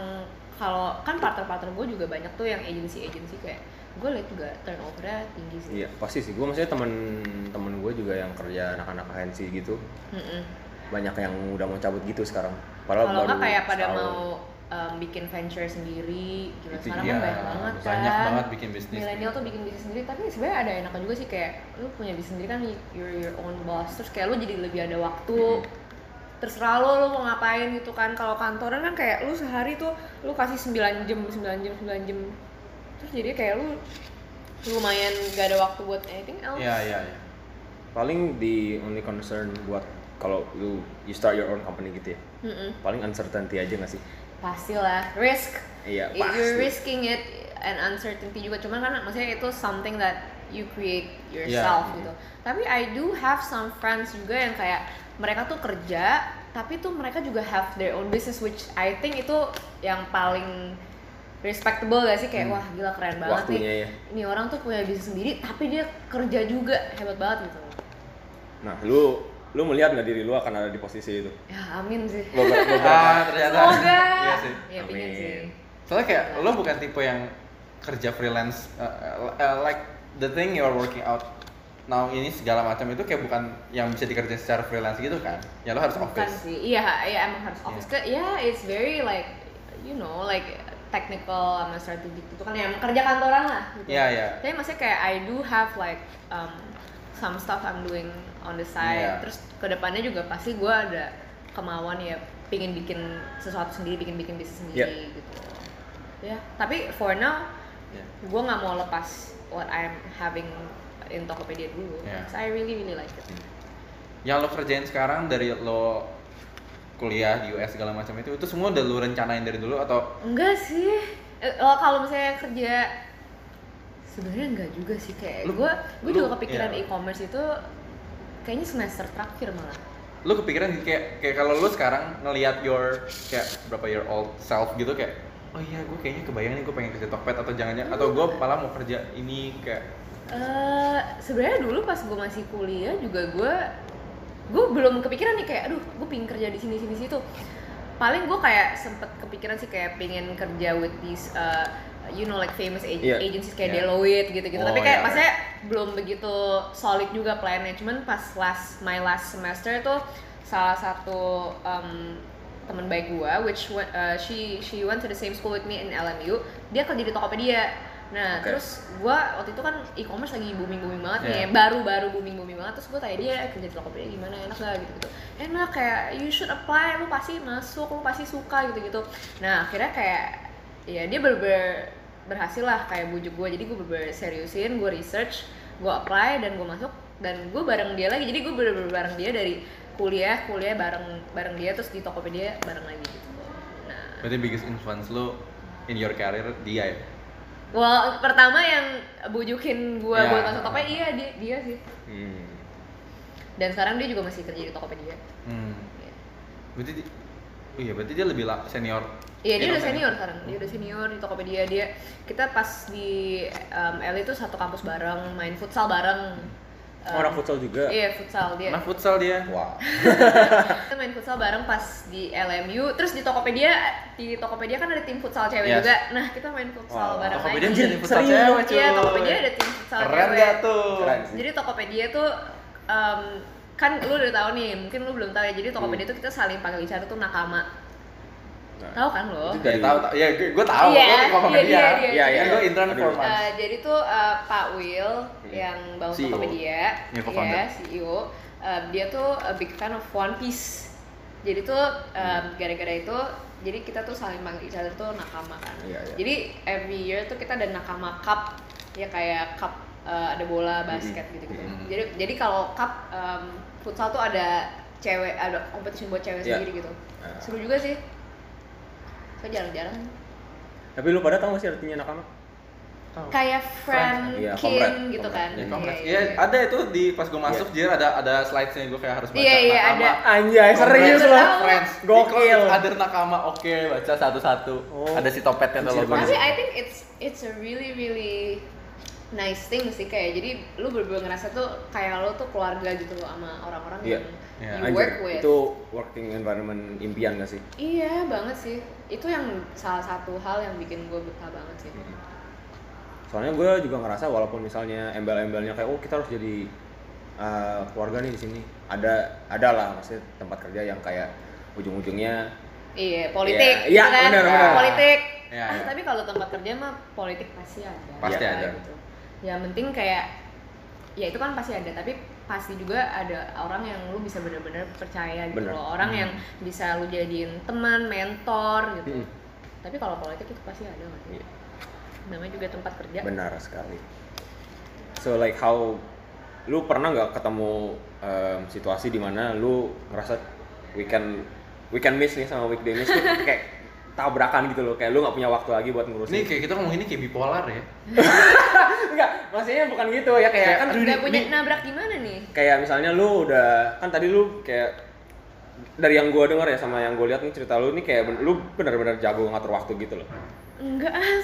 [SPEAKER 3] kalau kan partner-partner gue juga banyak tuh yang agency-agency kayak gue liat juga turnovernya tinggi sih
[SPEAKER 2] iya pasti sih gue maksudnya temen-temen gue juga yang kerja anak-anak agensi gitu
[SPEAKER 3] Mm-mm.
[SPEAKER 2] banyak yang udah mau cabut gitu sekarang padahal
[SPEAKER 3] kalau nggak
[SPEAKER 2] baru
[SPEAKER 3] kayak pada
[SPEAKER 2] setahun.
[SPEAKER 3] mau em, bikin venture sendiri gila
[SPEAKER 1] Itu
[SPEAKER 3] sekarang
[SPEAKER 1] dia,
[SPEAKER 3] kan banyak banget kan
[SPEAKER 1] banyak banget bikin bisnis. gitu.
[SPEAKER 3] milenial tuh bikin bisnis sendiri tapi sebenarnya ada enaknya juga sih kayak lu punya bisnis sendiri kan you're your own boss terus kayak lu jadi lebih ada waktu terserah lo lo mau ngapain gitu kan kalau kantoran kan kayak lu sehari tuh lu kasih 9 jam 9 jam 9 jam terus jadi kayak lu lumayan gak ada waktu buat anything else
[SPEAKER 1] Iya, iya, iya.
[SPEAKER 3] Ah,
[SPEAKER 2] paling the only concern buat kalau lu you start your own company gitu ya
[SPEAKER 3] Mm-mm.
[SPEAKER 2] paling uncertainty aja nggak sih
[SPEAKER 3] pastilah risk
[SPEAKER 2] iya
[SPEAKER 3] It-
[SPEAKER 2] pasti
[SPEAKER 3] you're risking it and uncertainty juga cuman kan maksudnya itu something that you create yourself
[SPEAKER 2] Yeah.
[SPEAKER 3] gitu tapi I do have some friends juga yang kayak mereka tuh kerja tapi tuh mereka juga have their own business which I think itu yang paling respectable gak sih kayak wah gila keren banget
[SPEAKER 2] Hmm. waktunya
[SPEAKER 3] nih
[SPEAKER 2] ya
[SPEAKER 3] ini orang tuh punya bisnis sendiri tapi dia kerja juga hebat banget gitu
[SPEAKER 2] nah lu lu melihat nggak diri lu akan ada di posisi
[SPEAKER 3] <laughs>
[SPEAKER 2] itu
[SPEAKER 3] ya amin sih
[SPEAKER 2] Beber- beberapa
[SPEAKER 1] Ah, ternyata.
[SPEAKER 3] semoga
[SPEAKER 1] Iya sih.
[SPEAKER 3] ya pingin
[SPEAKER 2] kan? Amin.
[SPEAKER 3] sih
[SPEAKER 1] Soalnya kayak lo bukan tipe yang kerja freelance uh, uh, uh, like the thing you're working out now ini segala macam itu kayak bukan yang bisa dikerjain secara freelance gitu kan. Ya lo harus
[SPEAKER 3] bukan
[SPEAKER 1] office.
[SPEAKER 3] sih iya iya emang harus office ke ya it's very like you know like technical sama strategic itu kan yang kerja kantoran lah gitu
[SPEAKER 1] Iya, iya.
[SPEAKER 3] tapi maksudnya kayak I do have like um, some stuff I'm doing on the side
[SPEAKER 1] Iya.
[SPEAKER 3] terus kedepannya juga pasti gue ada kemauan ya pingin bikin sesuatu sendiri bikin bikin bisnis sendiri gitu ya tapi for now
[SPEAKER 1] Iya.
[SPEAKER 3] gue nggak mau lepas what I'm having in Tokopedia dulu
[SPEAKER 1] Iya. Hmm.
[SPEAKER 3] So I really really like it
[SPEAKER 1] Yang lo kerjain sekarang dari lo kuliah di US segala macam itu itu semua udah lo rencanain dari dulu atau
[SPEAKER 3] Enggak sih. Eh, oh, kalau misalnya kerja sebenarnya enggak juga sih kayak
[SPEAKER 1] Lu-
[SPEAKER 3] gue gue
[SPEAKER 1] lu-
[SPEAKER 3] juga kepikiran
[SPEAKER 1] iya.
[SPEAKER 3] e-commerce itu kayaknya semester terakhir malah.
[SPEAKER 1] lo kepikiran gitu? kayak kayak kalau lo sekarang ngelihat your kayak berapa year old self gitu kayak oh iya gue kayaknya kebayang nih gue pengen kerja Tokped atau jangan atau gue malah mau kerja ini kayak
[SPEAKER 3] Eh sebenarnya dulu pas gue masih kuliah juga gue gue belum kepikiran nih kayak aduh gue pingin kerja di sini sini situ paling gue kayak sempet kepikiran sih kayak pengen kerja with these uh, you know like famous ag-
[SPEAKER 2] Iya.
[SPEAKER 3] agencies kayak
[SPEAKER 1] Iya.
[SPEAKER 3] Deloitte gitu-gitu tapi
[SPEAKER 1] Oh,
[SPEAKER 3] kayak
[SPEAKER 1] iya.
[SPEAKER 3] maksudnya belum begitu solid juga plannya cuman pas last my last semester tuh salah satu um, teman baik gua which wa- uh, she she went to the same school with me in LMU dia kerja di Tokopedia nah
[SPEAKER 2] Oke.
[SPEAKER 3] terus gua waktu itu kan e-commerce lagi booming booming banget nih
[SPEAKER 1] Iya.
[SPEAKER 3] ya, baru-baru booming booming banget terus gua tanya dia "Eh, kerja di Tokopedia gimana enak gak gitu gitu enak kayak you should apply lu pasti masuk lu pasti suka gitu gitu nah akhirnya kayak ya dia berber berhasil lah kayak bujuk gua jadi gue berber seriusin gue research gue apply dan gue masuk dan gue bareng dia lagi jadi gue bener-bener bareng dia dari kuliah kuliah bareng bareng dia terus di Tokopedia bareng lagi gitu nah
[SPEAKER 1] Berarti biggest influence lu in your career dia ya?
[SPEAKER 3] well pertama yang bujukin gue
[SPEAKER 1] Ya.
[SPEAKER 3] buat masuk Tokopedia iya dia dia sih
[SPEAKER 2] Hmm.
[SPEAKER 3] dan sekarang dia gitu. juga masih kerja di Tokopedia
[SPEAKER 1] Hmm. Berarti di- oh iya, berarti dia lebih la- senior.
[SPEAKER 3] Iya dia
[SPEAKER 1] Gitu
[SPEAKER 3] udah
[SPEAKER 1] kan ya?
[SPEAKER 3] senior sekarang, dia udah senior di Tokopedia dia kita pas di um, LA itu satu kampus bareng, main futsal bareng. Um,
[SPEAKER 2] Orang futsal juga.
[SPEAKER 3] Iya futsal dia.
[SPEAKER 1] Nah, futsal dia.
[SPEAKER 2] Wah.
[SPEAKER 3] Kita main futsal bareng pas di LMU, terus di Tokopedia di Tokopedia kan ada tim futsal cewek
[SPEAKER 1] Yes.
[SPEAKER 3] juga. Nah kita main futsal
[SPEAKER 2] Wow,
[SPEAKER 3] bareng
[SPEAKER 1] Tokopedia
[SPEAKER 3] lagi.
[SPEAKER 1] dia ada futsal
[SPEAKER 2] serius?
[SPEAKER 1] cewek,
[SPEAKER 3] Iya
[SPEAKER 1] cuy.
[SPEAKER 3] Tokopedia ada tim futsal
[SPEAKER 1] Keren
[SPEAKER 3] cewek.
[SPEAKER 1] gak tuh?
[SPEAKER 2] Keren sih.
[SPEAKER 3] Jadi Tokopedia tuh um, kan lu udah tahu nih, mungkin lu belum tahu ya. Jadi Tokopedia
[SPEAKER 1] Hmm.
[SPEAKER 3] tuh kita saling panggil bicara tuh nakama.
[SPEAKER 2] Nah,
[SPEAKER 3] Tahu kan lo?
[SPEAKER 2] Itu
[SPEAKER 1] Dari tahu, tahu. ya gue gue tahu,
[SPEAKER 3] Iya,
[SPEAKER 1] gue ngomong
[SPEAKER 3] iya,
[SPEAKER 1] ke dia.
[SPEAKER 3] iya, iya,
[SPEAKER 1] Iya, iya,
[SPEAKER 2] iya.
[SPEAKER 1] gue intern
[SPEAKER 2] Aduh.
[SPEAKER 1] for months.
[SPEAKER 3] Uh, jadi tuh uh, Pak Will
[SPEAKER 2] Hmm.
[SPEAKER 3] yang
[SPEAKER 2] E
[SPEAKER 3] bangun
[SPEAKER 1] CEO.
[SPEAKER 3] Tokopedia,
[SPEAKER 1] Iya, co-founder.
[SPEAKER 3] ya, CEO, uh, dia tuh a big fan of One Piece. Jadi tuh um,
[SPEAKER 2] Hmm.
[SPEAKER 3] gara-gara itu, jadi kita tuh saling panggil each other tuh nakama kan.
[SPEAKER 2] Iya, iya.
[SPEAKER 3] Jadi every year tuh kita ada nakama cup, ya kayak cup uh, ada bola
[SPEAKER 2] Hmm.
[SPEAKER 3] basket
[SPEAKER 2] Mm-mm.
[SPEAKER 3] gitu-gitu.
[SPEAKER 1] Mm-mm.
[SPEAKER 3] Jadi jadi kalau cup um, futsal tuh ada cewek ada competition buat cewek
[SPEAKER 2] Iya.
[SPEAKER 3] sendiri gitu.
[SPEAKER 2] Ah.
[SPEAKER 3] Seru juga sih. Saya jarang-jarang.
[SPEAKER 2] Tapi lu pada tahu nggak sih artinya anak-anak?
[SPEAKER 3] Kayak
[SPEAKER 1] Friends,
[SPEAKER 2] iya, comrade,
[SPEAKER 3] Frankin gitu kan.
[SPEAKER 2] comrade.
[SPEAKER 1] Di
[SPEAKER 2] Iya,
[SPEAKER 1] kongres. Iya, ada itu di pas gue masuk dia ada ada slides-nya gue kayak harus baca
[SPEAKER 3] Iya, iya,
[SPEAKER 1] nakama.
[SPEAKER 3] ada.
[SPEAKER 2] Anjay,
[SPEAKER 1] Serius
[SPEAKER 2] serius
[SPEAKER 3] Tahu.
[SPEAKER 2] lo.
[SPEAKER 1] loh, friends.
[SPEAKER 2] Gokil.
[SPEAKER 1] Di kelas Ada nakama, oke, baca satu-satu.
[SPEAKER 2] Oh.
[SPEAKER 1] Ada si topetnya tuh Iya,
[SPEAKER 2] Anjir,
[SPEAKER 1] logo.
[SPEAKER 3] Tapi I think it's it's a really really nice thing sih kayak jadi lu bener-bener ngerasa tuh kayak lu tuh keluarga gitu loh sama orang-orang
[SPEAKER 2] Iya.
[SPEAKER 3] yang
[SPEAKER 1] Iya,
[SPEAKER 3] you work with.
[SPEAKER 2] itu working environment impian gak sih?
[SPEAKER 3] Iya banget sih. Itu yang salah satu hal yang bikin gue betah banget sih.
[SPEAKER 2] Iya. Soalnya gue juga ngerasa walaupun misalnya embel-embelnya kayak oh kita harus jadi uh, keluarga nih di sini. Ada ada lah maksudnya tempat kerja yang kayak ujung-ujungnya
[SPEAKER 3] Iya,
[SPEAKER 2] Iya,
[SPEAKER 3] politik
[SPEAKER 2] iya,
[SPEAKER 3] gitu kan.
[SPEAKER 2] benar, benar.
[SPEAKER 3] Politik.
[SPEAKER 1] Iya,
[SPEAKER 3] Ah,
[SPEAKER 1] iya.
[SPEAKER 3] tapi kalau tempat kerja mah politik pasti ada.
[SPEAKER 1] Pasti
[SPEAKER 3] Ya,
[SPEAKER 1] ada.
[SPEAKER 3] Gitu. Ya penting kayak ya itu kan pasti ada, tapi pasti juga ada orang yang lu bisa bener-bener percaya gitu
[SPEAKER 2] Bener.
[SPEAKER 3] loh. Orang
[SPEAKER 1] Hmm.
[SPEAKER 3] yang bisa lu jadiin teman, mentor gitu.
[SPEAKER 2] Mm.
[SPEAKER 3] Tapi kalau politik itu pasti ada nggak sih?
[SPEAKER 2] Iya.
[SPEAKER 3] Namanya juga tempat kerja.
[SPEAKER 2] benar sekali. So like how lu pernah nggak ketemu um, situasi di mana lu ngerasa weekend weekend miss nih sama weekday miss tuh kayak tabrakan gitu loh kayak lu nggak punya waktu lagi buat ngurusin
[SPEAKER 1] Ini kayak kita ngomong ini kayak bipolar ya.
[SPEAKER 2] Enggak, maksudnya bukan gitu ya kayak
[SPEAKER 1] Kayak,
[SPEAKER 2] kan
[SPEAKER 1] aduh,
[SPEAKER 3] Udah
[SPEAKER 1] ini-
[SPEAKER 3] punya
[SPEAKER 1] ini-
[SPEAKER 3] nabrak gimana nih?
[SPEAKER 2] kayak misalnya lu udah kan tadi lu kayak dari yang gua dengar ya sama yang gua lihat nih cerita lu nih kayak ben- lu benar-benar jago ngatur waktu gitu loh. <laughs>
[SPEAKER 3] Enggak, ah,
[SPEAKER 1] <laughs>
[SPEAKER 2] Loh,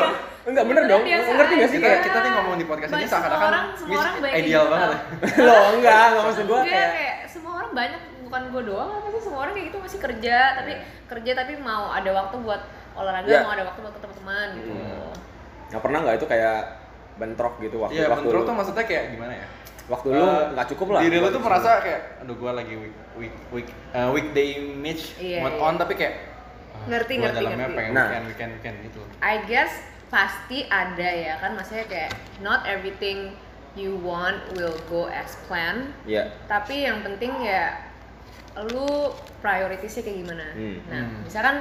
[SPEAKER 3] sumpah.
[SPEAKER 2] enggak bener dong.
[SPEAKER 3] Biasa
[SPEAKER 2] Ngerti gak sih
[SPEAKER 1] kita
[SPEAKER 2] kayak
[SPEAKER 1] kita nih ngomong di podcast ini
[SPEAKER 3] Banyak
[SPEAKER 1] seakan-akan
[SPEAKER 3] orang- semua
[SPEAKER 1] miss
[SPEAKER 3] orang banyak yang
[SPEAKER 1] ideal
[SPEAKER 3] gitu
[SPEAKER 1] banget. ya.
[SPEAKER 3] tau.
[SPEAKER 2] loh enggak, enggak maksud gua kayak
[SPEAKER 3] Enggak, Iya, kayak semua orang banyak bukan gue doang apa sih semua orang kayak gitu masih kerja tapi
[SPEAKER 2] Iya.
[SPEAKER 3] kerja tapi mau ada waktu buat olahraga
[SPEAKER 2] Iya.
[SPEAKER 3] mau ada waktu buat ketemu teman gitu
[SPEAKER 1] Hmm.
[SPEAKER 2] Nah, pernah nggak itu kayak bentrok gitu waktu
[SPEAKER 1] Iya,
[SPEAKER 2] waktu
[SPEAKER 1] bentrok
[SPEAKER 2] lu-
[SPEAKER 1] tuh maksudnya kayak gimana ya?
[SPEAKER 2] waktu lu
[SPEAKER 1] Eh,
[SPEAKER 2] nggak cukup lah.
[SPEAKER 1] Diri lu
[SPEAKER 2] buat
[SPEAKER 1] tuh
[SPEAKER 2] itu.
[SPEAKER 1] merasa kayak aduh gua lagi week week week eh, weekday image
[SPEAKER 3] Iya,
[SPEAKER 1] mode
[SPEAKER 3] iya.
[SPEAKER 1] on tapi kayak ah,
[SPEAKER 3] Ngerti,
[SPEAKER 1] gua
[SPEAKER 3] ngerti,
[SPEAKER 1] dalamnya
[SPEAKER 3] ngerti.
[SPEAKER 1] pengen
[SPEAKER 2] Nah.
[SPEAKER 1] weekend weekend weekend gitu.
[SPEAKER 3] I guess pasti ada ya kan maksudnya kayak not everything you want will go as planned
[SPEAKER 2] Iya.
[SPEAKER 3] tapi yang penting ya lu prioritasnya kayak gimana
[SPEAKER 2] Hmm.
[SPEAKER 3] nah
[SPEAKER 1] Hmm.
[SPEAKER 3] misalkan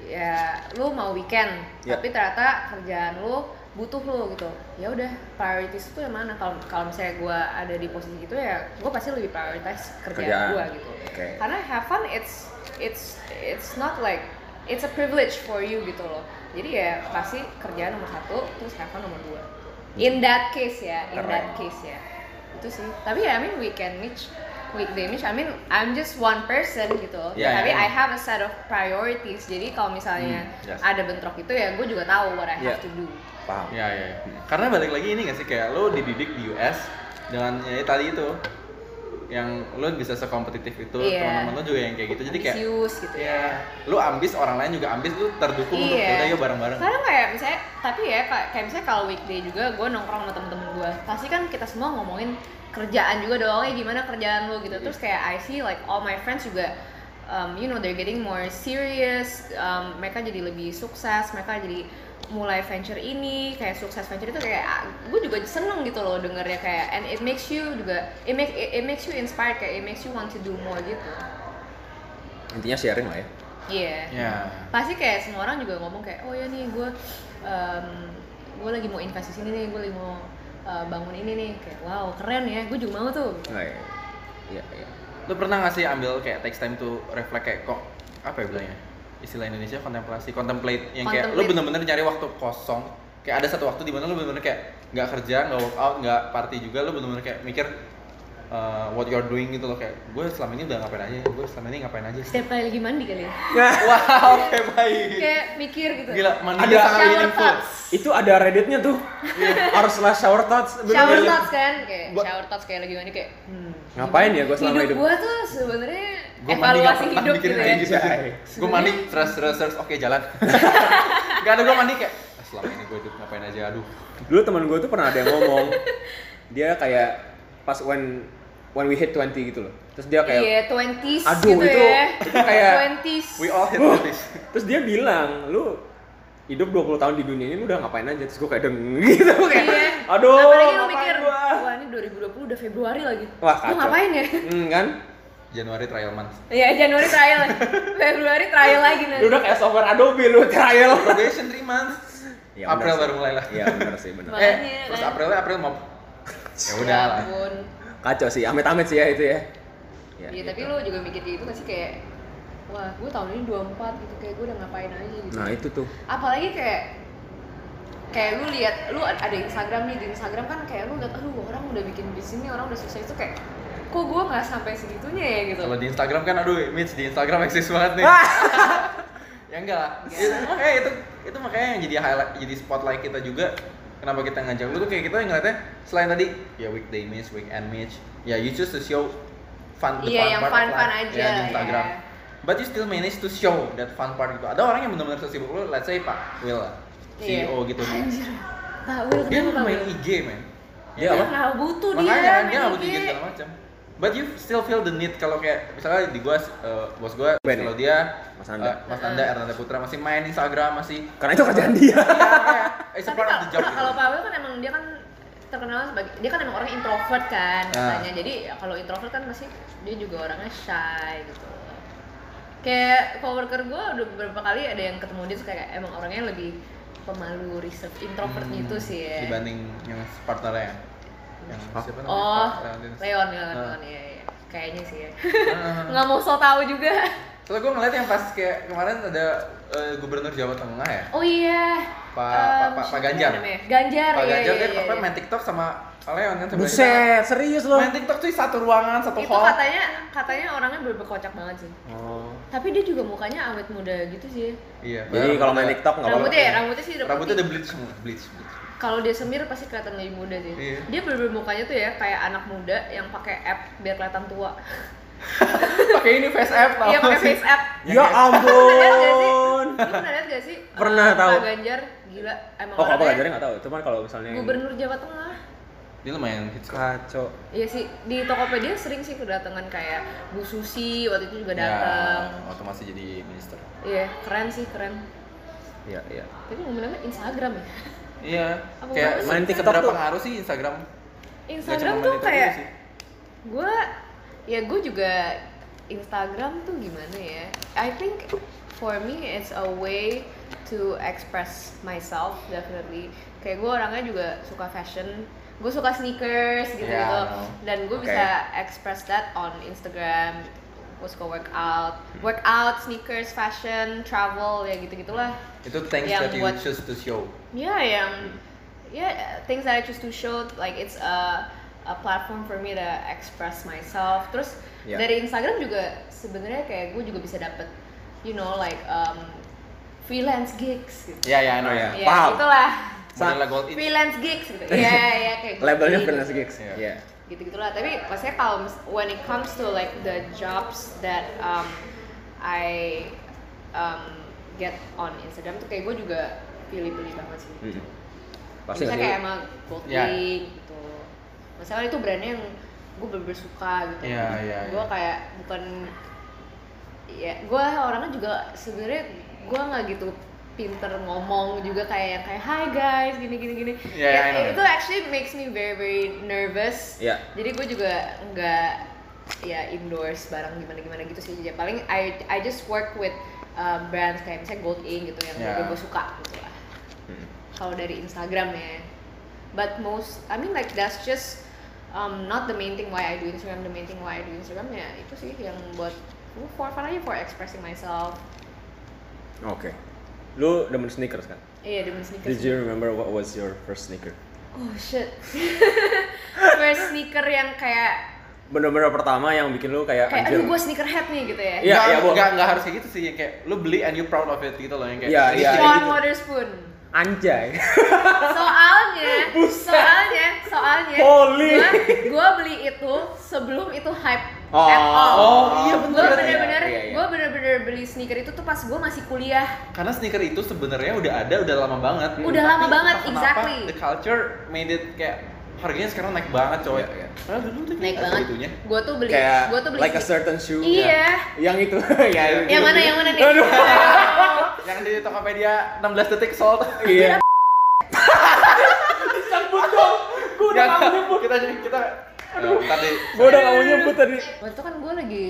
[SPEAKER 3] ya lu mau weekend
[SPEAKER 2] Ya.
[SPEAKER 3] tapi ternyata kerjaan lu butuh lu gitu ya udah prioritas itu yang mana kalau kalau misalnya gua ada di posisi gitu ya gua pasti lebih prioritas
[SPEAKER 2] Kerjaan.
[SPEAKER 3] kerjaan, gua gitu
[SPEAKER 2] Oke.
[SPEAKER 3] karena have fun it's it's it's not like it's a privilege for you gitu loh jadi ya pasti kerjaan nomor satu terus have fun nomor dua
[SPEAKER 1] Hmm.
[SPEAKER 3] in that case ya in
[SPEAKER 2] Keren.
[SPEAKER 3] that case ya itu sih tapi ya I mean weekend Mitch weekday Mitch I mean I'm just one person gitu
[SPEAKER 1] Ya,
[SPEAKER 3] tapi
[SPEAKER 1] ya, ya.
[SPEAKER 3] I have a set of priorities jadi kalau misalnya
[SPEAKER 1] Hmm, yes.
[SPEAKER 3] ada bentrok itu ya gue juga tahu what I
[SPEAKER 2] Ya.
[SPEAKER 3] have to do
[SPEAKER 2] Paham.
[SPEAKER 1] Iya, iya. iya. Karena balik lagi ini gak sih kayak lo dididik di US dengan ya tadi itu yang lu bisa sekompetitif itu
[SPEAKER 3] Iya.
[SPEAKER 1] teman-teman lu juga yang kayak gitu jadi kayak
[SPEAKER 3] Ambisius gitu ya.
[SPEAKER 1] ya lu ambis orang lain juga ambis lu terdukung untuk
[SPEAKER 3] Iya.
[SPEAKER 1] kita yuk bareng-bareng
[SPEAKER 3] Sekarang kayak misalnya, tapi ya Kak, kayak misalnya kalau weekday juga gue nongkrong sama temen-temen gue Pasti kan kita semua ngomongin kerjaan juga dong, ya gimana kerjaan lu gitu Terus kayak I see like all my friends juga um, you know they're getting more serious um, Mereka jadi lebih sukses, mereka jadi mulai venture ini kayak sukses venture itu kayak gue juga seneng gitu loh dengernya kayak and it makes you juga it make it, it makes you inspired kayak it makes you want to do more gitu Iya.
[SPEAKER 2] Intinya sharing lah ya.
[SPEAKER 3] yeah
[SPEAKER 1] ya
[SPEAKER 3] pasti kayak semua orang juga ngomong kayak oh ya nih gue gue lagi mau invest di sini nih gue lagi mau uh, bangun ini nih kayak wow keren ya gue juga mau tuh
[SPEAKER 2] Nah, iya. Iya, iya.
[SPEAKER 1] lu pernah nggak sih ambil kayak text time to reflect kayak kok apa ya bilangnya istilah Indonesia kontemplasi contemplate yang kayak lu
[SPEAKER 3] Contemplate.
[SPEAKER 1] bener-bener nyari waktu kosong kayak ada satu waktu di mana lu bener-bener kayak nggak kerja nggak workout nggak party juga lu bener-bener kayak mikir uh, what you're doing gitu loh kayak gue selama ini udah ngapain aja gue selama ini ngapain aja sih
[SPEAKER 3] <laughs> setiap kali lagi mandi kali ya
[SPEAKER 1] wow oke baik
[SPEAKER 3] kayak mikir gitu
[SPEAKER 1] gila mandi
[SPEAKER 2] Ada
[SPEAKER 1] sangat
[SPEAKER 3] shower
[SPEAKER 1] meaningful
[SPEAKER 3] thoughts
[SPEAKER 2] Itu ada Redditnya tuh.
[SPEAKER 1] Iya.
[SPEAKER 2] Harus slash shower thoughts. Bener,
[SPEAKER 3] shower
[SPEAKER 2] bener.
[SPEAKER 3] thoughts kan kayak
[SPEAKER 2] Ba-
[SPEAKER 3] shower thoughts kayak lagi mandi kayak hmm,
[SPEAKER 2] Ngapain ya gua selama hidup?
[SPEAKER 3] gue tuh sebenarnya
[SPEAKER 1] gue mandi gak
[SPEAKER 3] evaluasi
[SPEAKER 1] pernah
[SPEAKER 3] hidup
[SPEAKER 1] mikirin
[SPEAKER 3] gitu ya
[SPEAKER 1] kayak gitu
[SPEAKER 2] ya.
[SPEAKER 1] gue mandi terus terus terus oke
[SPEAKER 3] <laughs>
[SPEAKER 1] jalan gak ada gue mandi kayak "Ah, selama ini gue hidup ngapain aja aduh
[SPEAKER 2] Dulu teman gue tuh pernah ada yang ngomong dia kayak pas when when we hit 20 gitu loh. Terus dia kayak
[SPEAKER 3] iya twenties
[SPEAKER 2] Aduh,
[SPEAKER 3] gitu
[SPEAKER 2] itu-
[SPEAKER 3] ya
[SPEAKER 2] itu kayak-
[SPEAKER 3] twenties
[SPEAKER 1] we all
[SPEAKER 3] <laughs>
[SPEAKER 1] hit this
[SPEAKER 2] Terus dia bilang, "Lu hidup 20 tahun di dunia ini lu udah ngapain aja?" Terus gue kayak deng <laughs> gitu kayak.
[SPEAKER 3] Iya.
[SPEAKER 2] Aduh.
[SPEAKER 3] apalagi lu
[SPEAKER 2] ngapain
[SPEAKER 3] mikir
[SPEAKER 2] gua?"
[SPEAKER 3] wah ini 2020 udah Februari lagi
[SPEAKER 2] Wah,
[SPEAKER 3] gue
[SPEAKER 2] kacau.
[SPEAKER 3] ngapain ya
[SPEAKER 2] Hmm, kan?
[SPEAKER 1] Januari trial month
[SPEAKER 3] Iya Januari
[SPEAKER 1] <laughs>
[SPEAKER 3] trial, Februari trial lagi
[SPEAKER 2] Lu
[SPEAKER 3] nanti.
[SPEAKER 2] udah kayak software Adobe lu trial.
[SPEAKER 1] probation 3 months
[SPEAKER 2] Ya,
[SPEAKER 1] April
[SPEAKER 2] bener sih.
[SPEAKER 1] baru mulai lah
[SPEAKER 2] Iya, benar sih,
[SPEAKER 3] <laughs>
[SPEAKER 2] benar.
[SPEAKER 3] Makanya,
[SPEAKER 1] eh terus
[SPEAKER 3] kan.
[SPEAKER 1] Aprilnya April mau ya udah lah
[SPEAKER 3] ampun.
[SPEAKER 2] Kacau sih, amit-amit sih ya itu ya.
[SPEAKER 3] Iya
[SPEAKER 2] gitu.
[SPEAKER 3] tapi lu juga mikir kayak gitu nggak sih kayak, wah gue tahun ini 24 gitu kayak gue udah ngapain aja gitu.
[SPEAKER 2] Nah, itu tuh.
[SPEAKER 3] Apalagi kayak kayak lu lihat lu ada Instagram nih di Instagram kan kayak lu lihat aduh orang udah bikin bisnis nih orang udah sukses itu kayak kok gue nggak sampai segitunya ya gitu.
[SPEAKER 1] kalau di Instagram kan aduh image di Instagram eksis
[SPEAKER 2] <laughs>
[SPEAKER 1] banget nih ya enggak lah Itu- makanya itu itu makanya yang jadi highlight jadi spotlight kita juga kenapa kita ngajak lu tuh kayak kita ngeliatnya selain tadi ya weekday image weekend image ya you choose to show fun the
[SPEAKER 3] Iya,
[SPEAKER 1] fun
[SPEAKER 3] yang
[SPEAKER 1] part of
[SPEAKER 3] fun-fun
[SPEAKER 1] life,
[SPEAKER 3] aja,
[SPEAKER 1] ya, di Instagram
[SPEAKER 3] ya.
[SPEAKER 1] but you still manage to show that fun part gitu ada orang yang benar-benar sesibuk lu let's say Pak Will lah,
[SPEAKER 3] Iya.
[SPEAKER 1] CEO gitu
[SPEAKER 3] <laughs> Anjir, Pak Will
[SPEAKER 1] dia
[SPEAKER 3] kenapa Pak
[SPEAKER 1] main
[SPEAKER 3] Will?
[SPEAKER 1] IG men
[SPEAKER 2] Dia Iya, apa?
[SPEAKER 3] Nah, butuh dia.
[SPEAKER 1] makanya kan dia
[SPEAKER 3] main
[SPEAKER 1] nggak butuh
[SPEAKER 3] IG.
[SPEAKER 1] gigit segala macam but you still feel the need kalau kayak misalnya di gua eh, bos gua
[SPEAKER 2] Ben,
[SPEAKER 1] kalau
[SPEAKER 2] ya?
[SPEAKER 1] dia
[SPEAKER 2] Mas Nanda.
[SPEAKER 1] eh, Mas Nanda Ernanda Putra masih main Instagram masih
[SPEAKER 2] Karena itu kerjaan dia.
[SPEAKER 1] Iya, it's a
[SPEAKER 3] Tapi
[SPEAKER 1] part of the job
[SPEAKER 3] kalau
[SPEAKER 1] gitu.
[SPEAKER 3] kalau Pawel kan emang dia kan terkenal sebagai dia kan emang orang introvert kan
[SPEAKER 1] Ah.
[SPEAKER 3] katanya. Jadi ya kalau introvert kan masih dia juga orangnya shy gitu. Kayak coworker gue udah beberapa kali ada yang ketemu dia tuh kayak emang orangnya lebih pemalu, reserve, introvert
[SPEAKER 1] Hmm,
[SPEAKER 3] gitu sih ya.
[SPEAKER 1] dibanding yang partnernya yang, yang
[SPEAKER 2] Hah?
[SPEAKER 1] siapa namanya
[SPEAKER 3] Oh,
[SPEAKER 1] Pak Leontinus.
[SPEAKER 3] Leon, Leon,
[SPEAKER 1] Ah.
[SPEAKER 3] Leon, iya, iya. Kayaknya sih
[SPEAKER 1] <laughs>
[SPEAKER 3] ya.
[SPEAKER 1] Ah.
[SPEAKER 3] Nggak mau so tau juga.
[SPEAKER 1] soalnya gue ngeliat yang pas kayak kemarin ada eh, gubernur Jawa Tengah ya
[SPEAKER 3] Oh iya.
[SPEAKER 1] Pak
[SPEAKER 3] Em,
[SPEAKER 1] Ah, Pak- Pak
[SPEAKER 3] siapa
[SPEAKER 1] Ganjar.
[SPEAKER 3] namanya? Ganjar,
[SPEAKER 1] Pak
[SPEAKER 3] iya,
[SPEAKER 1] Ganjar
[SPEAKER 3] iya,
[SPEAKER 1] dia
[SPEAKER 3] iya,
[SPEAKER 1] apa
[SPEAKER 3] iya.
[SPEAKER 1] main TikTok sama Leon kan sebelah kita.
[SPEAKER 2] Buset, serius lu.
[SPEAKER 1] main TikTok tuh satu ruangan satu
[SPEAKER 3] Itu
[SPEAKER 1] hall
[SPEAKER 3] katanya katanya orangnya berkocak banget sih.
[SPEAKER 2] Oh.
[SPEAKER 3] Tapi dia juga mukanya awet muda gitu sih.
[SPEAKER 1] iya
[SPEAKER 2] Jadi kalau main TikTok enggak apa-apa.
[SPEAKER 3] Rambutnya ya, rambutnya sih udah
[SPEAKER 1] rambutnya
[SPEAKER 3] putih.
[SPEAKER 1] udah bleach semua bleach, bleach.
[SPEAKER 3] Kalau dia semir pasti kelihatan lebih muda sih.
[SPEAKER 1] Iya.
[SPEAKER 3] Dia bener-bener mukanya tuh ya kayak anak muda yang pakai app biar kelihatan tua.
[SPEAKER 1] <laughs> pakai ini face app tau
[SPEAKER 3] Iya pakai
[SPEAKER 1] sih?
[SPEAKER 3] face app.
[SPEAKER 2] Ya
[SPEAKER 3] Pernah lihat gak sih?
[SPEAKER 2] ampun.
[SPEAKER 3] Lu pernah lihat gak sih? eh,
[SPEAKER 2] Pernah, tahu.
[SPEAKER 3] Pak Ganjar gila emang
[SPEAKER 2] Oh, apa
[SPEAKER 3] orangnya
[SPEAKER 2] ngajarin enggak tahu. Cuman kalau misalnya yang-
[SPEAKER 3] Gubernur Jawa Tengah.
[SPEAKER 1] dia lumayan hits kok.
[SPEAKER 2] kacau.
[SPEAKER 3] Iya sih di Tokopedia sering sih kedatangan kayak Bu Susi waktu itu juga
[SPEAKER 1] Ya,
[SPEAKER 3] datang.
[SPEAKER 1] waktu masih jadi minister.
[SPEAKER 3] Iya keren sih keren.
[SPEAKER 2] Iya, iya.
[SPEAKER 3] Tapi ngomongnya Instagram ya.
[SPEAKER 1] Iya.
[SPEAKER 3] Apa
[SPEAKER 1] kayak
[SPEAKER 3] banget
[SPEAKER 1] main
[SPEAKER 2] sih?
[SPEAKER 1] TikTok
[SPEAKER 2] Seberapa
[SPEAKER 1] tuh pengaruh sih Instagram?
[SPEAKER 3] Instagram tuh kayak gue ya gue juga Instagram tuh gimana ya I think for me it's a way to express myself definitely kayak gue orangnya juga suka fashion gue suka sneakers gitu gitu
[SPEAKER 1] Yeah, I know.
[SPEAKER 3] dan gue
[SPEAKER 2] Oke.
[SPEAKER 3] bisa express that on Instagram gue suka workout workout sneakers fashion travel ya gitu gitulah
[SPEAKER 1] Itu thanks
[SPEAKER 3] Yang
[SPEAKER 1] that you
[SPEAKER 3] buat-
[SPEAKER 1] choose to show.
[SPEAKER 3] Ya yang ya things that I choose to show like it's a a platform for me to express myself. Terus
[SPEAKER 2] Ya.
[SPEAKER 3] dari Instagram juga sebenarnya kayak gue juga bisa dapet you know like um, freelance gigs gitu.
[SPEAKER 1] Iya, iya, I know
[SPEAKER 2] Oh,
[SPEAKER 1] ya.
[SPEAKER 2] iya.
[SPEAKER 3] Ya
[SPEAKER 2] paham.
[SPEAKER 3] itulah
[SPEAKER 1] Modelnya gold in.
[SPEAKER 2] <laughs>
[SPEAKER 3] freelance gigs gitu. Iya ya kayak
[SPEAKER 2] Labelnya
[SPEAKER 3] gitu.
[SPEAKER 2] freelance gigs.
[SPEAKER 1] Iya.
[SPEAKER 2] Iya.
[SPEAKER 3] gitu gitulah tapi maksudnya kalau mis- when it comes to like the jobs that um, I um, get on Instagram tuh kayak gue juga pilih-pilih banget sih
[SPEAKER 2] Mm-mm.
[SPEAKER 1] Pasti nggak
[SPEAKER 3] Misalnya
[SPEAKER 1] sih?
[SPEAKER 3] kayak emang Gold
[SPEAKER 1] Ya.
[SPEAKER 3] Wing gitu misalnya itu brandnya yang gue bener-bener suka gitu
[SPEAKER 1] Iya, iya,
[SPEAKER 3] gue
[SPEAKER 1] iya.
[SPEAKER 3] kayak bukan ya gue orangnya juga sebenarnya gue nggak gitu pinter ngomong juga kayak kayak hi guys gini gini gini
[SPEAKER 1] Iya, iya, I know.
[SPEAKER 3] itu actually makes me very very nervous
[SPEAKER 2] Iya.
[SPEAKER 3] jadi gue juga nggak ya endorse barang gimana gimana gitu sih jadi paling I I just work with uh, brands kayak misalnya Gold Ink gitu yang
[SPEAKER 1] Iya.
[SPEAKER 3] gue suka gitu lah
[SPEAKER 2] Mm.
[SPEAKER 3] kalau dari Instagram ya. But most, I mean like that's just um, not the main thing why I do Instagram. The main thing why I do Instagram ya itu sih yang buat oh, for fun aja for expressing myself.
[SPEAKER 2] Oke. Lu demen sneakers kan?
[SPEAKER 3] Iya demen sneakers.
[SPEAKER 2] Did you remember what was your first sneaker?
[SPEAKER 3] Oh shit. <laughs> First sneaker yang kayak
[SPEAKER 2] Bener-bener pertama yang bikin lu kayak
[SPEAKER 3] kayak aduh gue sneakerhead nih gitu ya.
[SPEAKER 2] Iya,
[SPEAKER 1] Nggak-
[SPEAKER 2] iya, Bu.
[SPEAKER 1] nggak nggak harus kayak gitu sih yang kayak lu beli and you proud of it gitu loh yang kayak
[SPEAKER 2] Iya,
[SPEAKER 1] ini
[SPEAKER 2] iya.
[SPEAKER 1] sih-
[SPEAKER 3] Swan
[SPEAKER 2] gitu.
[SPEAKER 3] Waterspoon.
[SPEAKER 2] anjay. <laughs>
[SPEAKER 3] Soalnya, soalnya, soalnya,
[SPEAKER 2] Holy.
[SPEAKER 3] gua, gua beli itu sebelum itu hype
[SPEAKER 2] Oh,
[SPEAKER 3] at all.
[SPEAKER 1] oh, iya, bener.
[SPEAKER 3] Gua bener-bener,
[SPEAKER 2] Iya, iya.
[SPEAKER 3] gua bener-bener beli sneaker itu tuh pas gua masih kuliah.
[SPEAKER 1] karena sneaker itu sebenarnya udah ada udah lama banget
[SPEAKER 3] Udah lama banget,
[SPEAKER 1] entah kenapa,
[SPEAKER 3] exactly.
[SPEAKER 1] the culture made it kayak harganya sekarang naik banget coy
[SPEAKER 2] Iya, iya.
[SPEAKER 1] padahal dulu tuh
[SPEAKER 3] Naik
[SPEAKER 1] nggak
[SPEAKER 3] banget.
[SPEAKER 1] segitunya.
[SPEAKER 3] Gua tuh beli,
[SPEAKER 2] kayak
[SPEAKER 3] gua tuh beli.
[SPEAKER 2] like a
[SPEAKER 3] sneaker-
[SPEAKER 2] certain shoe.
[SPEAKER 3] Iya.
[SPEAKER 2] Yang itu. <laughs> ya,
[SPEAKER 1] Yang
[SPEAKER 2] itu.
[SPEAKER 3] Yang mana yang mana nih?
[SPEAKER 2] Aduh.
[SPEAKER 3] <laughs>
[SPEAKER 1] yang di Tokopedia 16 detik sold
[SPEAKER 2] Iya.
[SPEAKER 1] gue udah kita kita aduh ntar deh
[SPEAKER 2] Gue udah gak mau nyebut tadi.
[SPEAKER 3] Waktu itu kan gua lagi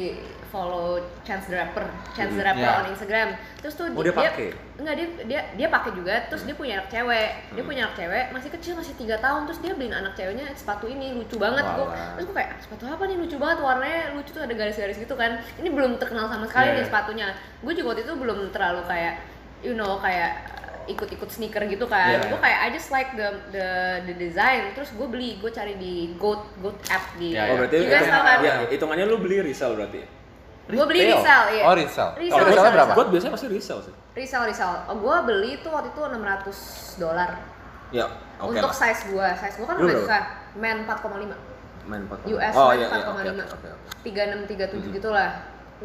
[SPEAKER 3] follow Chance the Rapper, Chance the
[SPEAKER 1] Hmm,
[SPEAKER 3] Rapper
[SPEAKER 1] iya.
[SPEAKER 3] on Instagram. Terus tuh
[SPEAKER 2] Ya. Oh, dia pakai?
[SPEAKER 3] Enggak, dia dia dia pakai juga, terus dia punya anak cewek. Dia punya anak cewek masih kecil, masih 3 tahun, terus dia beliin anak ceweknya sepatu ini lucu banget gua.
[SPEAKER 2] Walah.
[SPEAKER 3] Terus gua kayak, "Ah, "Sepatu apa nih lucu banget? Warnanya lucu tuh ada garis-garis gitu kan." Ini belum terkenal sama sekali
[SPEAKER 1] Iya,
[SPEAKER 3] nih
[SPEAKER 1] iya.
[SPEAKER 3] sepatunya. Gue juga waktu itu belum terlalu kayak you know kayak ikut-ikut sneaker gitu kan.
[SPEAKER 1] Iya, iya.
[SPEAKER 3] Gue kayak I just like the the the design, terus gue beli, gue cari di Goat Goat app di
[SPEAKER 1] Iya,
[SPEAKER 2] Oh, berarti
[SPEAKER 3] You guys
[SPEAKER 2] hitung-
[SPEAKER 3] tahu kan?
[SPEAKER 2] ya, hitungannya lu beli resell berarti.
[SPEAKER 3] Gua beli resell, iya.
[SPEAKER 1] oh resell
[SPEAKER 3] Resell,
[SPEAKER 1] kalau
[SPEAKER 3] resell,
[SPEAKER 1] resell berapa
[SPEAKER 2] Gue biasanya pasti resell sih.
[SPEAKER 3] Risal, risal. Oh, gue beli tuh waktu itu 600 dolar
[SPEAKER 2] Ya, oke
[SPEAKER 3] untuk
[SPEAKER 2] lah.
[SPEAKER 3] size gue. Size gue kan
[SPEAKER 2] Lu
[SPEAKER 3] lumayan
[SPEAKER 2] berapa?
[SPEAKER 3] susah. Men 4,5.
[SPEAKER 2] Main 4.
[SPEAKER 3] US
[SPEAKER 2] oh,
[SPEAKER 3] men
[SPEAKER 2] iya, iya,
[SPEAKER 3] 4,5.
[SPEAKER 2] oke, oke, oke, oke.
[SPEAKER 3] 3637
[SPEAKER 1] Hmm.
[SPEAKER 2] Mhm.
[SPEAKER 3] gitu lah.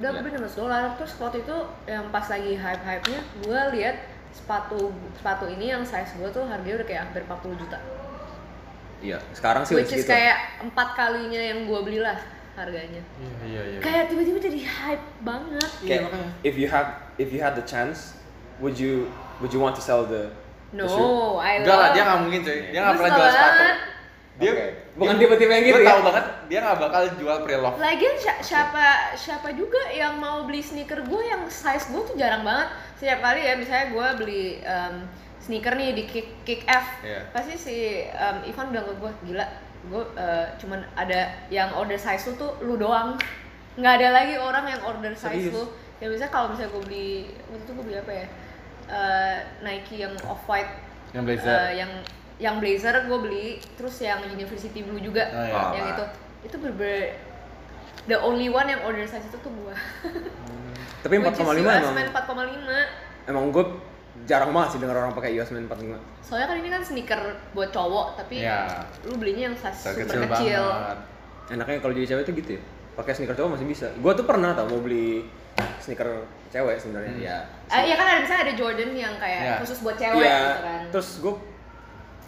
[SPEAKER 3] Udah
[SPEAKER 2] Iya.
[SPEAKER 3] gue beli 600 dolar. Terus waktu itu yang pas lagi hype-hype-nya gue lihat sepatu sepatu ini yang size gue tuh harganya udah kayak hampir 40 juta.
[SPEAKER 2] Iya, sekarang sih
[SPEAKER 3] Which
[SPEAKER 2] udah
[SPEAKER 1] ya?
[SPEAKER 3] is kayak empat kalinya yang gue belilah harganya.
[SPEAKER 1] iya iya iya
[SPEAKER 3] Kayak tiba-tiba jadi hype banget.
[SPEAKER 1] Iya,
[SPEAKER 2] Kayak,
[SPEAKER 1] makanya.
[SPEAKER 2] if you have if you had the chance, would you would you want to sell the the shoe?
[SPEAKER 3] No, I love.
[SPEAKER 1] enggak lah dia nggak mungkin cuy dia nggak
[SPEAKER 3] Lu
[SPEAKER 1] pernah
[SPEAKER 3] salah
[SPEAKER 1] jual sepatu
[SPEAKER 3] banget.
[SPEAKER 1] dia
[SPEAKER 2] Oke. Bukan tipe-tipe yang gitu
[SPEAKER 1] gue
[SPEAKER 2] ya?
[SPEAKER 1] tahu banget dia nggak bakal jual pre-love
[SPEAKER 3] Lagian si- siapa siapa juga yang mau beli sneaker gue yang size gue tuh jarang banget. Setiap kali ya misalnya gue beli em, sneaker nih di Kick, Kick F,
[SPEAKER 1] Iya.
[SPEAKER 3] pasti si em, Ivan bilang ke gue gila, gue eh, cuman ada yang order size lu tuh lu doang, nggak ada lagi orang yang order size
[SPEAKER 2] Serius?
[SPEAKER 3] lu. Ya misalnya kalau misalnya gue beli waktu itu gue beli apa ya Eh, Nike yang off white,
[SPEAKER 1] yang blazer
[SPEAKER 3] Eh, yang yang blazer gue beli, terus yang University Blue juga
[SPEAKER 1] Oh, iya.
[SPEAKER 3] yang
[SPEAKER 2] Parah.
[SPEAKER 3] itu itu bener the only one yang order size itu tuh gua
[SPEAKER 2] Tapi 4,5 emang.
[SPEAKER 3] main 4,5
[SPEAKER 2] Emang gue jarang banget sih denger orang pakai US main 4,5.
[SPEAKER 3] soalnya kan ini kan sneaker buat cowok tapi
[SPEAKER 1] Iya.
[SPEAKER 3] lu belinya yang size
[SPEAKER 1] Size
[SPEAKER 3] super
[SPEAKER 1] kecil
[SPEAKER 3] kecil,
[SPEAKER 1] banget
[SPEAKER 2] Enaknya kalau jadi cewek tuh gitu ya. Pakai sneaker cowok masih bisa. Gue tuh pernah tau mau beli sneaker cewek sebenarnya.
[SPEAKER 1] Hmm.
[SPEAKER 2] Ya.
[SPEAKER 3] Ah, iya kan ada misalnya ada Jordan yang kayak
[SPEAKER 1] Iya.
[SPEAKER 3] khusus buat cewek
[SPEAKER 2] Iya,
[SPEAKER 3] gitu kan
[SPEAKER 2] Terus gue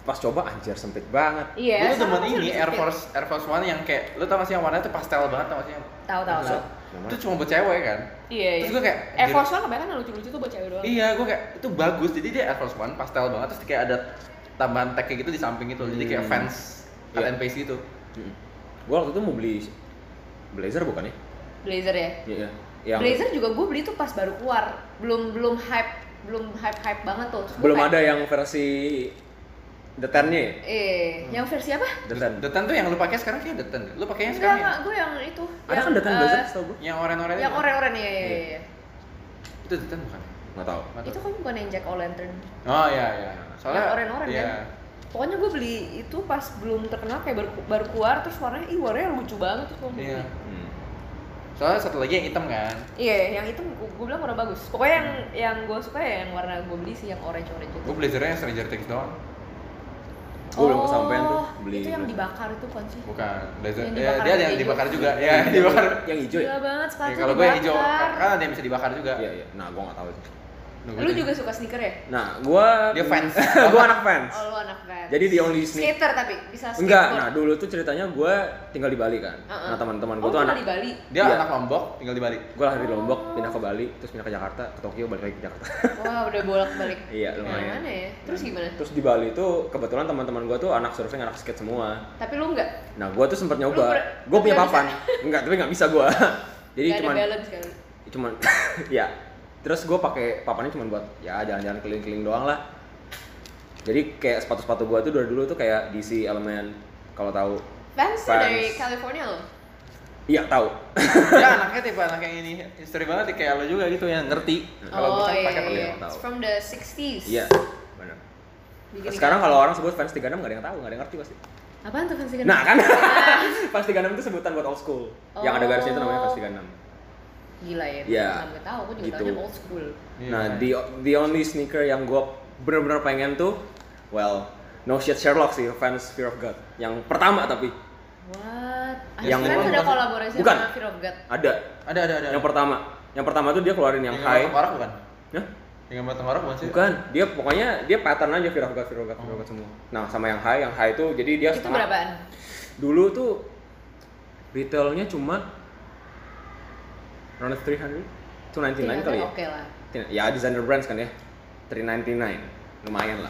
[SPEAKER 2] pas coba anjir sempit banget.
[SPEAKER 3] iya
[SPEAKER 1] gue tuh
[SPEAKER 3] sama
[SPEAKER 1] demen
[SPEAKER 3] kan
[SPEAKER 1] ini
[SPEAKER 3] lebih
[SPEAKER 1] Air
[SPEAKER 3] sempit.
[SPEAKER 1] Force Air Force One yang kayak lu tau gak sih yang warnanya tuh pastel banget tau gak sih yang
[SPEAKER 3] tahu tahu tahu
[SPEAKER 1] itu cuma buat cewek kan
[SPEAKER 3] iya
[SPEAKER 1] Terus
[SPEAKER 3] iya
[SPEAKER 1] gua kayak,
[SPEAKER 3] Air
[SPEAKER 1] anjir.
[SPEAKER 3] Force One kebanyakan yang lucu-lucu tuh buat cewek doang
[SPEAKER 1] iya gue kayak itu bagus jadi dia Air Force One pastel banget terus kayak ada tambahan tag kayak gitu di samping itu jadi kayak
[SPEAKER 2] Hmm.
[SPEAKER 1] fans cut
[SPEAKER 2] Iya.
[SPEAKER 1] and paste gitu
[SPEAKER 2] Gue waktu itu mau beli blazer bukan ya?
[SPEAKER 3] blazer ya
[SPEAKER 2] Iya. iya. Yang
[SPEAKER 3] blazer juga gua beli tuh pas baru keluar belum belum hype belum hype hype banget tuh Terus gua
[SPEAKER 2] belum
[SPEAKER 3] kayak,
[SPEAKER 2] ada yang versi detannya ya?
[SPEAKER 3] eh yang versi apa
[SPEAKER 2] Detan.
[SPEAKER 1] Detan tuh yang lu pakai sekarang kayak Detan lu pakainya
[SPEAKER 3] Enggak,
[SPEAKER 1] sekarang ya?
[SPEAKER 3] enggak, gue yang itu.
[SPEAKER 2] Ada
[SPEAKER 3] yang,
[SPEAKER 2] kan detan
[SPEAKER 3] eh,
[SPEAKER 2] blazer setahu gue?
[SPEAKER 1] yang oren-oren
[SPEAKER 3] Yang
[SPEAKER 2] kan?
[SPEAKER 1] itu.
[SPEAKER 3] oren-oren ya, ya,
[SPEAKER 2] Iya,
[SPEAKER 3] ya, ya.
[SPEAKER 1] itu Detan bukan
[SPEAKER 2] Nggak tahu.
[SPEAKER 1] Nggak tahu.
[SPEAKER 3] Itu kan bukan yang Jack O'Lantern.
[SPEAKER 1] oh iya iya soalnya
[SPEAKER 3] Yang oren-oren
[SPEAKER 1] iya.
[SPEAKER 3] kan? Pokoknya gue beli itu pas belum terkenal kayak baru, baru keluar terus warnanya ih warnanya lucu banget terus gue beli.
[SPEAKER 1] iya
[SPEAKER 2] Hmm.
[SPEAKER 1] soalnya satu lagi yang hitam kan
[SPEAKER 3] Iya, yang itu gue, gue bilang warna bagus. Pokoknya yang yang gue suka ya yang warna gue beli sih yang orange orange itu.
[SPEAKER 1] gue blazernya Stranger Things doang
[SPEAKER 2] Gue belum kesampaian tuh.
[SPEAKER 3] Oh,
[SPEAKER 2] beli
[SPEAKER 3] itu yang dibakar itu bukan sih
[SPEAKER 1] Bukan. Blazer.
[SPEAKER 3] Yang
[SPEAKER 1] Ya, dia ada
[SPEAKER 3] dibakar gitu. yang
[SPEAKER 1] yang
[SPEAKER 3] hijau.
[SPEAKER 1] dibakar juga. Ya, yang dibakar.
[SPEAKER 2] <laughs> yang hijau ya?
[SPEAKER 3] gila banget
[SPEAKER 1] Ya,
[SPEAKER 3] sepatu
[SPEAKER 1] kalau gue yang hijau,
[SPEAKER 3] dibakar.
[SPEAKER 1] kan ada yang bisa dibakar juga.
[SPEAKER 2] Iya, iya. Nah, gua nggak tahu itu.
[SPEAKER 1] Nah, gua
[SPEAKER 3] lu
[SPEAKER 1] tuh-
[SPEAKER 3] juga suka sneaker ya
[SPEAKER 2] Nah, gua
[SPEAKER 1] Dia fans.
[SPEAKER 2] <laughs> gua anak fans.
[SPEAKER 3] oh lu anak band
[SPEAKER 2] Jadi di only sneak
[SPEAKER 3] skater tapi bisa skateboard
[SPEAKER 2] Enggak, nah dulu tuh ceritanya gue tinggal di Bali kan. Nah
[SPEAKER 3] Uh-uh.
[SPEAKER 2] teman-teman gue
[SPEAKER 3] oh,
[SPEAKER 2] tuh
[SPEAKER 3] lu
[SPEAKER 2] anak,
[SPEAKER 3] di Bali
[SPEAKER 1] Dia
[SPEAKER 2] Iya.
[SPEAKER 1] anak Lombok, tinggal di
[SPEAKER 2] <laughs>
[SPEAKER 1] Bali.
[SPEAKER 2] gue lahir di Lombok, pindah ke Bali, terus pindah ke Jakarta, ke Tokyo, balik lagi ke Jakarta.
[SPEAKER 3] wah udah bolak balik
[SPEAKER 2] <laughs> Iya, lumayan.
[SPEAKER 3] mana ya terus gimana
[SPEAKER 2] terus di Bali tuh kebetulan teman-teman gue tuh anak surfing, anak skate semua.
[SPEAKER 3] tapi lu enggak
[SPEAKER 2] Nah gue tuh sempat
[SPEAKER 3] Lu ber-
[SPEAKER 2] nyoba, gue punya
[SPEAKER 3] nggak
[SPEAKER 2] papan, enggak tapi nggak bisa gue.
[SPEAKER 3] <laughs>
[SPEAKER 2] Jadi
[SPEAKER 3] Nggak
[SPEAKER 2] cuman,
[SPEAKER 3] ada balance kan? kali
[SPEAKER 2] cuman, <laughs> ya. Terus gue pakai papannya cuman buat ya jalan-jalan keliling-keliling doang lah. Jadi kayak sepatu-sepatu gue tuh dari dulu tuh kayak DC Element, kalau tahu.
[SPEAKER 3] Vans tuh
[SPEAKER 2] Vans.
[SPEAKER 3] dari California loh
[SPEAKER 2] Iya tahu.
[SPEAKER 1] Dia anaknya tipe anak yang ini, history banget kayak lo juga gitu yang ngerti. Kalau
[SPEAKER 3] oh
[SPEAKER 1] bukan
[SPEAKER 3] iya,
[SPEAKER 1] pakai
[SPEAKER 3] iya.
[SPEAKER 1] pengen.
[SPEAKER 2] yang tahu.
[SPEAKER 3] It's from the 60s
[SPEAKER 2] Iya, benar.
[SPEAKER 3] Bikin-
[SPEAKER 2] Sekarang kalau orang sebut fans 36 nggak ada yang tahu, nggak ada yang ngerti pasti.
[SPEAKER 3] apaan tuh Vans
[SPEAKER 2] Nah kan, <laughs> fans 36 itu sebutan buat old school. Yang ada garisnya itu namanya fans 36.
[SPEAKER 3] gila ya
[SPEAKER 2] Iya.
[SPEAKER 3] nggak tahu aku juga
[SPEAKER 2] Gitu.
[SPEAKER 3] taunya old school
[SPEAKER 1] Iya,
[SPEAKER 2] Nah,
[SPEAKER 1] makanya.
[SPEAKER 2] the the only sneaker yang gue bener-bener pengen tuh, well, no shit Sherlock sih, fans Fear of God. Yang pertama tapi
[SPEAKER 3] what
[SPEAKER 2] Yang-
[SPEAKER 3] yang kan sudah kolaborasi
[SPEAKER 2] Bukan. Iya,
[SPEAKER 3] sama Fear of God iya.
[SPEAKER 2] ada.
[SPEAKER 1] Ada ada ada.
[SPEAKER 2] Yang pertama, yang pertama tuh dia keluarin yang
[SPEAKER 1] high.
[SPEAKER 2] high.
[SPEAKER 1] Tengkorak bukan?
[SPEAKER 2] Hah?
[SPEAKER 1] Yang gambar tengkorak bukan sih?
[SPEAKER 2] Bukan, dia pokoknya dia pattern aja Fear of God, Fear of God, Fear of God semua. Nah, sama yang high, yang high itu jadi dia
[SPEAKER 3] itu
[SPEAKER 2] setengah-
[SPEAKER 3] berapaan
[SPEAKER 2] dulu tuh retailnya cuma around 300 299 kali ya
[SPEAKER 3] oke lah
[SPEAKER 2] Tin- ya designer brands kan ya 399 lumayan lah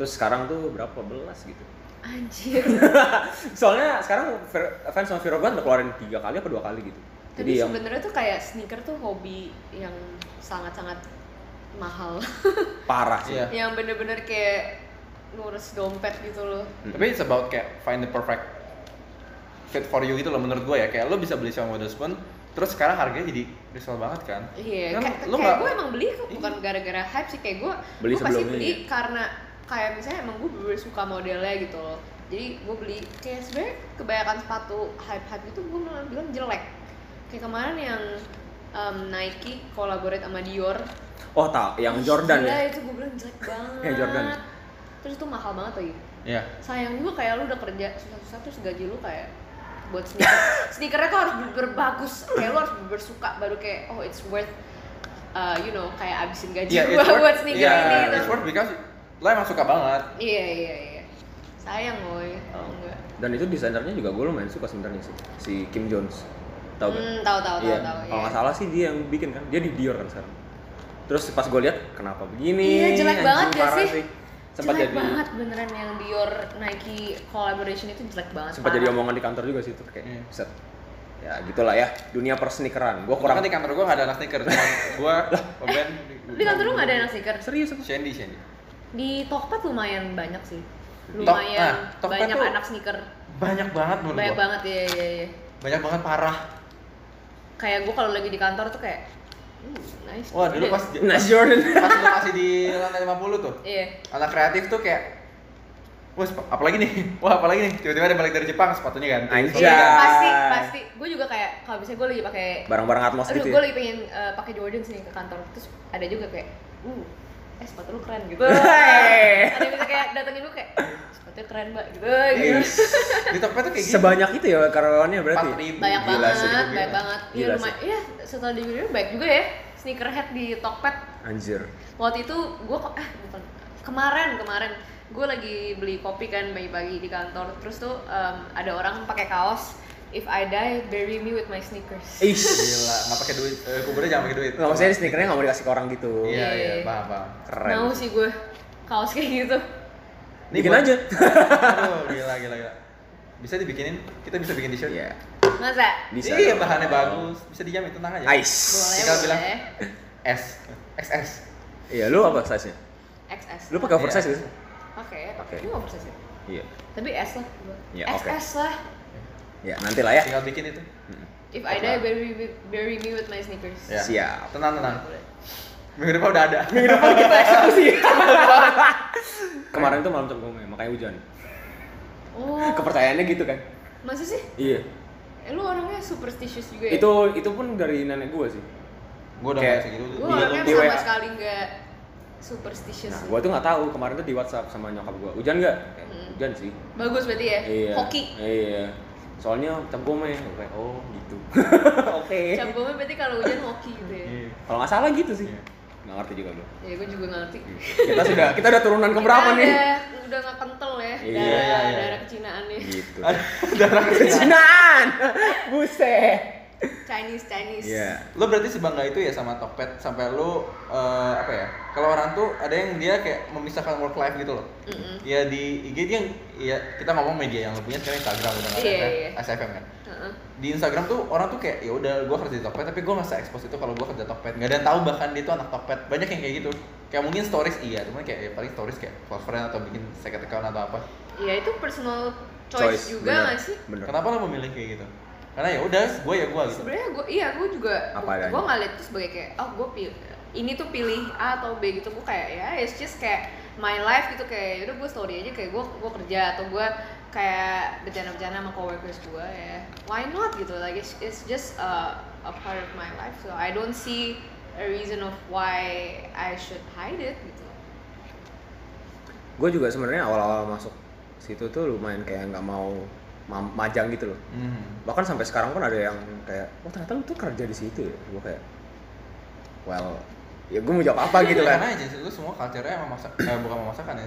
[SPEAKER 2] terus sekarang tuh berapa belas gitu
[SPEAKER 3] anjir
[SPEAKER 2] soalnya sekarang Ver- fans sama Vero udah keluarin tiga kali apa dua kali gitu
[SPEAKER 3] tapi
[SPEAKER 2] <laughs> jadi yang
[SPEAKER 3] sebenarnya tuh kayak sneaker tuh hobi yang sangat-sangat mahal
[SPEAKER 2] parah sih
[SPEAKER 1] Iya.
[SPEAKER 3] yang bener-bener kayak ngurus dompet gitu loh
[SPEAKER 2] Hmm.
[SPEAKER 1] Tapi it's about kayak find the perfect fit for you gitu loh menurut gue ya. Kayak lo bisa beli sama model spoon, terus sekarang harganya jadi resell banget kan?
[SPEAKER 3] Iya,
[SPEAKER 1] Kan
[SPEAKER 3] kayak,
[SPEAKER 1] lu
[SPEAKER 3] kayak
[SPEAKER 1] nggak-
[SPEAKER 3] gue emang beli kok, bukan gara-gara hype sih kayak gue
[SPEAKER 2] Beli
[SPEAKER 3] gue pasti
[SPEAKER 2] sebelumnya,
[SPEAKER 3] beli
[SPEAKER 2] iya.
[SPEAKER 3] karena kayak misalnya emang gue bener suka modelnya gitu loh jadi gue beli kayak sebenarnya kebanyakan sepatu hype hype itu gue malah bilang jelek kayak kemarin yang um, Nike collaborate sama Dior
[SPEAKER 2] oh tak yang Jordan
[SPEAKER 3] Gila,
[SPEAKER 2] ya
[SPEAKER 3] itu gue bilang jelek banget
[SPEAKER 2] <laughs> Yang Jordan.
[SPEAKER 3] terus itu mahal banget lagi
[SPEAKER 1] Iya.
[SPEAKER 3] sayang juga kayak lu udah kerja susah-susah terus gaji lu kayak buat sneaker
[SPEAKER 2] <laughs>
[SPEAKER 3] sneakernya tuh harus bener-bener bagus kayak lu harus bener-bener suka baru kayak oh it's worth uh, you know kayak abisin gaji <laughs>
[SPEAKER 1] Iya,
[SPEAKER 3] gua buat sneaker
[SPEAKER 1] iya,
[SPEAKER 3] ini
[SPEAKER 1] It's
[SPEAKER 3] gitu
[SPEAKER 1] worth because lo emang suka banget.
[SPEAKER 3] iya iya iya sayang woi kalau enggak
[SPEAKER 2] Oh. dan itu desainernya juga gue lumayan suka sebenarnya sih si Kim Jones tau gak?
[SPEAKER 3] hmm tahu tahu tahu
[SPEAKER 2] Iya,
[SPEAKER 3] tahu
[SPEAKER 2] kalau
[SPEAKER 3] iya.
[SPEAKER 2] nggak salah sih dia yang bikin kan, dia di Dior kan sekarang. Terus pas gue lihat kenapa begini?
[SPEAKER 3] Iya, jelek
[SPEAKER 2] anjing,
[SPEAKER 3] banget gak
[SPEAKER 2] parah
[SPEAKER 3] sih?
[SPEAKER 2] Sempat
[SPEAKER 3] jelek
[SPEAKER 2] jadi
[SPEAKER 3] banget beneran yang Dior Nike collaboration itu jelek banget
[SPEAKER 2] sempat jadi
[SPEAKER 3] parah.
[SPEAKER 2] omongan di kantor juga sih itu kayak
[SPEAKER 1] Iya.
[SPEAKER 2] set. Ya gitulah ya, dunia persnikeran. Gue kurang
[SPEAKER 1] Kurang di kantor gue gak ada anak sneaker, cuman
[SPEAKER 2] <laughs>
[SPEAKER 1] gue, Oben,
[SPEAKER 3] di kantor lu nggak ada yang sneaker
[SPEAKER 2] serius aku.
[SPEAKER 1] Shandy, Shandy.
[SPEAKER 3] di Tokped lumayan banyak sih
[SPEAKER 2] ah,
[SPEAKER 3] lumayan
[SPEAKER 1] nah, Tokped
[SPEAKER 3] banyak
[SPEAKER 1] tuh-
[SPEAKER 3] anak sneaker
[SPEAKER 1] Banyak banget menurut
[SPEAKER 3] banyak
[SPEAKER 1] gue.
[SPEAKER 3] banget ya ya ya
[SPEAKER 1] Banyak banget parah.
[SPEAKER 3] kayak gue kalau lagi di kantor tuh kayak hmm, nice
[SPEAKER 1] Wah dulu
[SPEAKER 3] deh."
[SPEAKER 1] pas
[SPEAKER 2] Nah Jordan. <laughs>
[SPEAKER 1] pas lo masih di lantai 50 tuh,
[SPEAKER 3] iya
[SPEAKER 1] anak kreatif tuh kayak Wah, sep- apalagi nih? <laughs> Wah, apalagi nih? Tiba-tiba ada yang balik dari Jepang sepatunya ganti.
[SPEAKER 2] Anjay.
[SPEAKER 3] iya
[SPEAKER 2] Jai.
[SPEAKER 3] pasti pasti gue juga kayak kalau misalnya gue lagi pakai
[SPEAKER 2] Barang-barang Atmos
[SPEAKER 3] aduh
[SPEAKER 2] gitu.
[SPEAKER 3] gue
[SPEAKER 2] Ya.
[SPEAKER 3] lagi pengen eh, pakai Jordan sini ke kantor terus ada juga kayak uh eh sepatu lu keren gitu
[SPEAKER 2] Wey.
[SPEAKER 3] ada yang bisa kayak datengin gue kayak "Eh, sepatunya keren mbak gitu,
[SPEAKER 2] Iya.
[SPEAKER 3] gitu.
[SPEAKER 1] Yes.
[SPEAKER 3] <laughs>
[SPEAKER 1] Di Tokped tuh kayak gitu.
[SPEAKER 2] Sebanyak itu ya karyawannya berarti.
[SPEAKER 1] 4.000.
[SPEAKER 3] banyak
[SPEAKER 2] Gila
[SPEAKER 3] banget
[SPEAKER 2] sih, gila.
[SPEAKER 3] banyak banget iya
[SPEAKER 2] Gila
[SPEAKER 3] lumayan iya setelah di video baik juga ya sneakerhead di Tokped
[SPEAKER 2] Anjir.
[SPEAKER 3] waktu itu gue kok eh bukan kemarin kemarin gue lagi beli kopi kan pagi-pagi di kantor terus tuh em, ada orang pakai kaos if I die bury me with my sneakers
[SPEAKER 2] Ish.
[SPEAKER 1] Gila, nggak pakai duit. Eh, kuburnya jangan pakai duit.
[SPEAKER 2] Nggak maksudnya sneakernya nggak mau dikasih ke orang gitu.
[SPEAKER 1] Iya, iya,
[SPEAKER 3] Iya.
[SPEAKER 1] paham, paham.
[SPEAKER 2] Keren.
[SPEAKER 3] mau sih gue kaos kayak gitu
[SPEAKER 1] Ini
[SPEAKER 2] Bikin
[SPEAKER 1] buat-
[SPEAKER 2] aja.
[SPEAKER 1] Aduh, gila, gila, gila. Bisa dibikinin, kita bisa bikin t-shirt.
[SPEAKER 2] Iya.
[SPEAKER 3] masa
[SPEAKER 2] Bisa.
[SPEAKER 1] Iya, bahannya bagus. Bisa dijamin, tenang aja.
[SPEAKER 2] Ice.
[SPEAKER 3] boleh
[SPEAKER 1] Tinggal
[SPEAKER 3] boleh
[SPEAKER 1] bilang. S. XS.
[SPEAKER 2] Iya, lu apa size-nya?
[SPEAKER 3] XS
[SPEAKER 2] Lu pakai oversize
[SPEAKER 1] Iya.
[SPEAKER 2] gitu?
[SPEAKER 3] oke
[SPEAKER 2] Pakai.
[SPEAKER 3] gue oversize ya
[SPEAKER 2] Iya.
[SPEAKER 3] tapi S lah gua.
[SPEAKER 2] Iya, oke.
[SPEAKER 3] XS lah
[SPEAKER 2] Ya, nantilah ya.
[SPEAKER 1] Tinggal bikin itu.
[SPEAKER 3] if I die bury me, bury me with my sneakers
[SPEAKER 1] Iya.
[SPEAKER 2] Ya. Siap.
[SPEAKER 1] Tenang, tenang.
[SPEAKER 3] Boleh.
[SPEAKER 1] Minggu depan udah ada.
[SPEAKER 2] kita eksekusi. <laughs> Kemarin tuh malam cengkungnya, makanya hujan.
[SPEAKER 3] oh
[SPEAKER 2] Kepercayaannya gitu kan?
[SPEAKER 3] masa sih
[SPEAKER 2] Iya.
[SPEAKER 3] eh, lu orangnya superstitious juga ya
[SPEAKER 2] Itu itu pun dari nenek gue sih.
[SPEAKER 1] Gue udah gitu.
[SPEAKER 2] Kayak-
[SPEAKER 1] kayak segitu.
[SPEAKER 3] gue
[SPEAKER 2] Di-
[SPEAKER 3] orangnya
[SPEAKER 2] di
[SPEAKER 3] sama
[SPEAKER 2] WA.
[SPEAKER 3] sekali nggak Superstitious.
[SPEAKER 2] Nah, gua tuh nggak tahu kemarin tuh di WhatsApp sama nyokap gua. Hujan nggak? Kayak,
[SPEAKER 3] Hmm.
[SPEAKER 2] Hujan sih.
[SPEAKER 3] Bagus berarti ya.
[SPEAKER 2] Iya.
[SPEAKER 3] Hoki.
[SPEAKER 2] Iya. Soalnya cap gome. Oke, oh
[SPEAKER 3] <laughs>
[SPEAKER 2] gitu. Oke.
[SPEAKER 3] Cap gome berarti kalau hujan hoki gitu ya.
[SPEAKER 1] Iya.
[SPEAKER 2] Kalau nggak salah gitu sih.
[SPEAKER 1] Iya.
[SPEAKER 2] Nggak ngerti juga gua.
[SPEAKER 3] Ya gue juga nggak ngerti.
[SPEAKER 2] <laughs> Kita sudah kita udah turunan ke berapa
[SPEAKER 3] Kita
[SPEAKER 2] nih?
[SPEAKER 3] Udah, udah nggak kental ya
[SPEAKER 2] Iya,
[SPEAKER 3] darah
[SPEAKER 1] iya, iya.
[SPEAKER 3] darah kecinaannya.
[SPEAKER 2] Gitu. <laughs>
[SPEAKER 1] Darah kecil.
[SPEAKER 2] Kecinaan. <laughs> Buset.
[SPEAKER 3] Chinese Chinese.
[SPEAKER 2] Iya.
[SPEAKER 1] Lo berarti sebangga itu ya sama Tokped sampai lo eh, apa ya? Kalau orang tuh ada yang dia kayak memisahkan work life gitu loh.
[SPEAKER 3] Mm-mm.
[SPEAKER 1] Ya di IG dia ya kita ngomong media yang lo punya sekarang Instagram udah nggak ada
[SPEAKER 3] Iya,
[SPEAKER 1] kan?
[SPEAKER 3] iya.
[SPEAKER 1] SFM kan.
[SPEAKER 3] Heeh.
[SPEAKER 1] Di Instagram tuh orang tuh kayak ya udah gua kerja di Tokped tapi gua nggak se-expose itu kalau gua kerja Tokped. Nggak ada yang tahu bahkan dia tuh anak Tokped. Banyak yang kayak gitu. Kayak mungkin stories iya, cuman kayak ya paling stories kayak close friend atau bikin second account atau apa.
[SPEAKER 3] Ya itu personal choice, juga
[SPEAKER 2] bener.
[SPEAKER 3] nggak sih?
[SPEAKER 2] Bener.
[SPEAKER 1] Kenapa lo memilih kayak gitu? Karena ya udah, gue ya gue gitu.
[SPEAKER 3] Sebenarnya gue iya gue juga
[SPEAKER 2] Apa adanya.
[SPEAKER 3] gue nggak lihat itu sebagai kayak oh gue pilih ini tuh pilih A atau B gitu gue kayak ya it's just kayak my life gitu kayak udah gue story aja kayak gue gue kerja atau gue kayak bercanda-bercanda sama coworkers gue ya why not gitu like it's, it's just a, a part of my life so I don't see a reason of why I should hide it gitu
[SPEAKER 2] Gue juga sebenarnya awal-awal masuk situ tuh lumayan kayak nggak mau ma- majang gitu loh.
[SPEAKER 1] Hmm.
[SPEAKER 2] bahkan sampai sekarang pun ada yang kayak wah ternyata lu tuh kerja di situ ya gue kayak well ya gue mau jawab apa gitu
[SPEAKER 1] Iya, Karena
[SPEAKER 2] <laughs> kan
[SPEAKER 1] aja sih, itu semua culture-nya emang masak, eh, bukan memaksakan ya,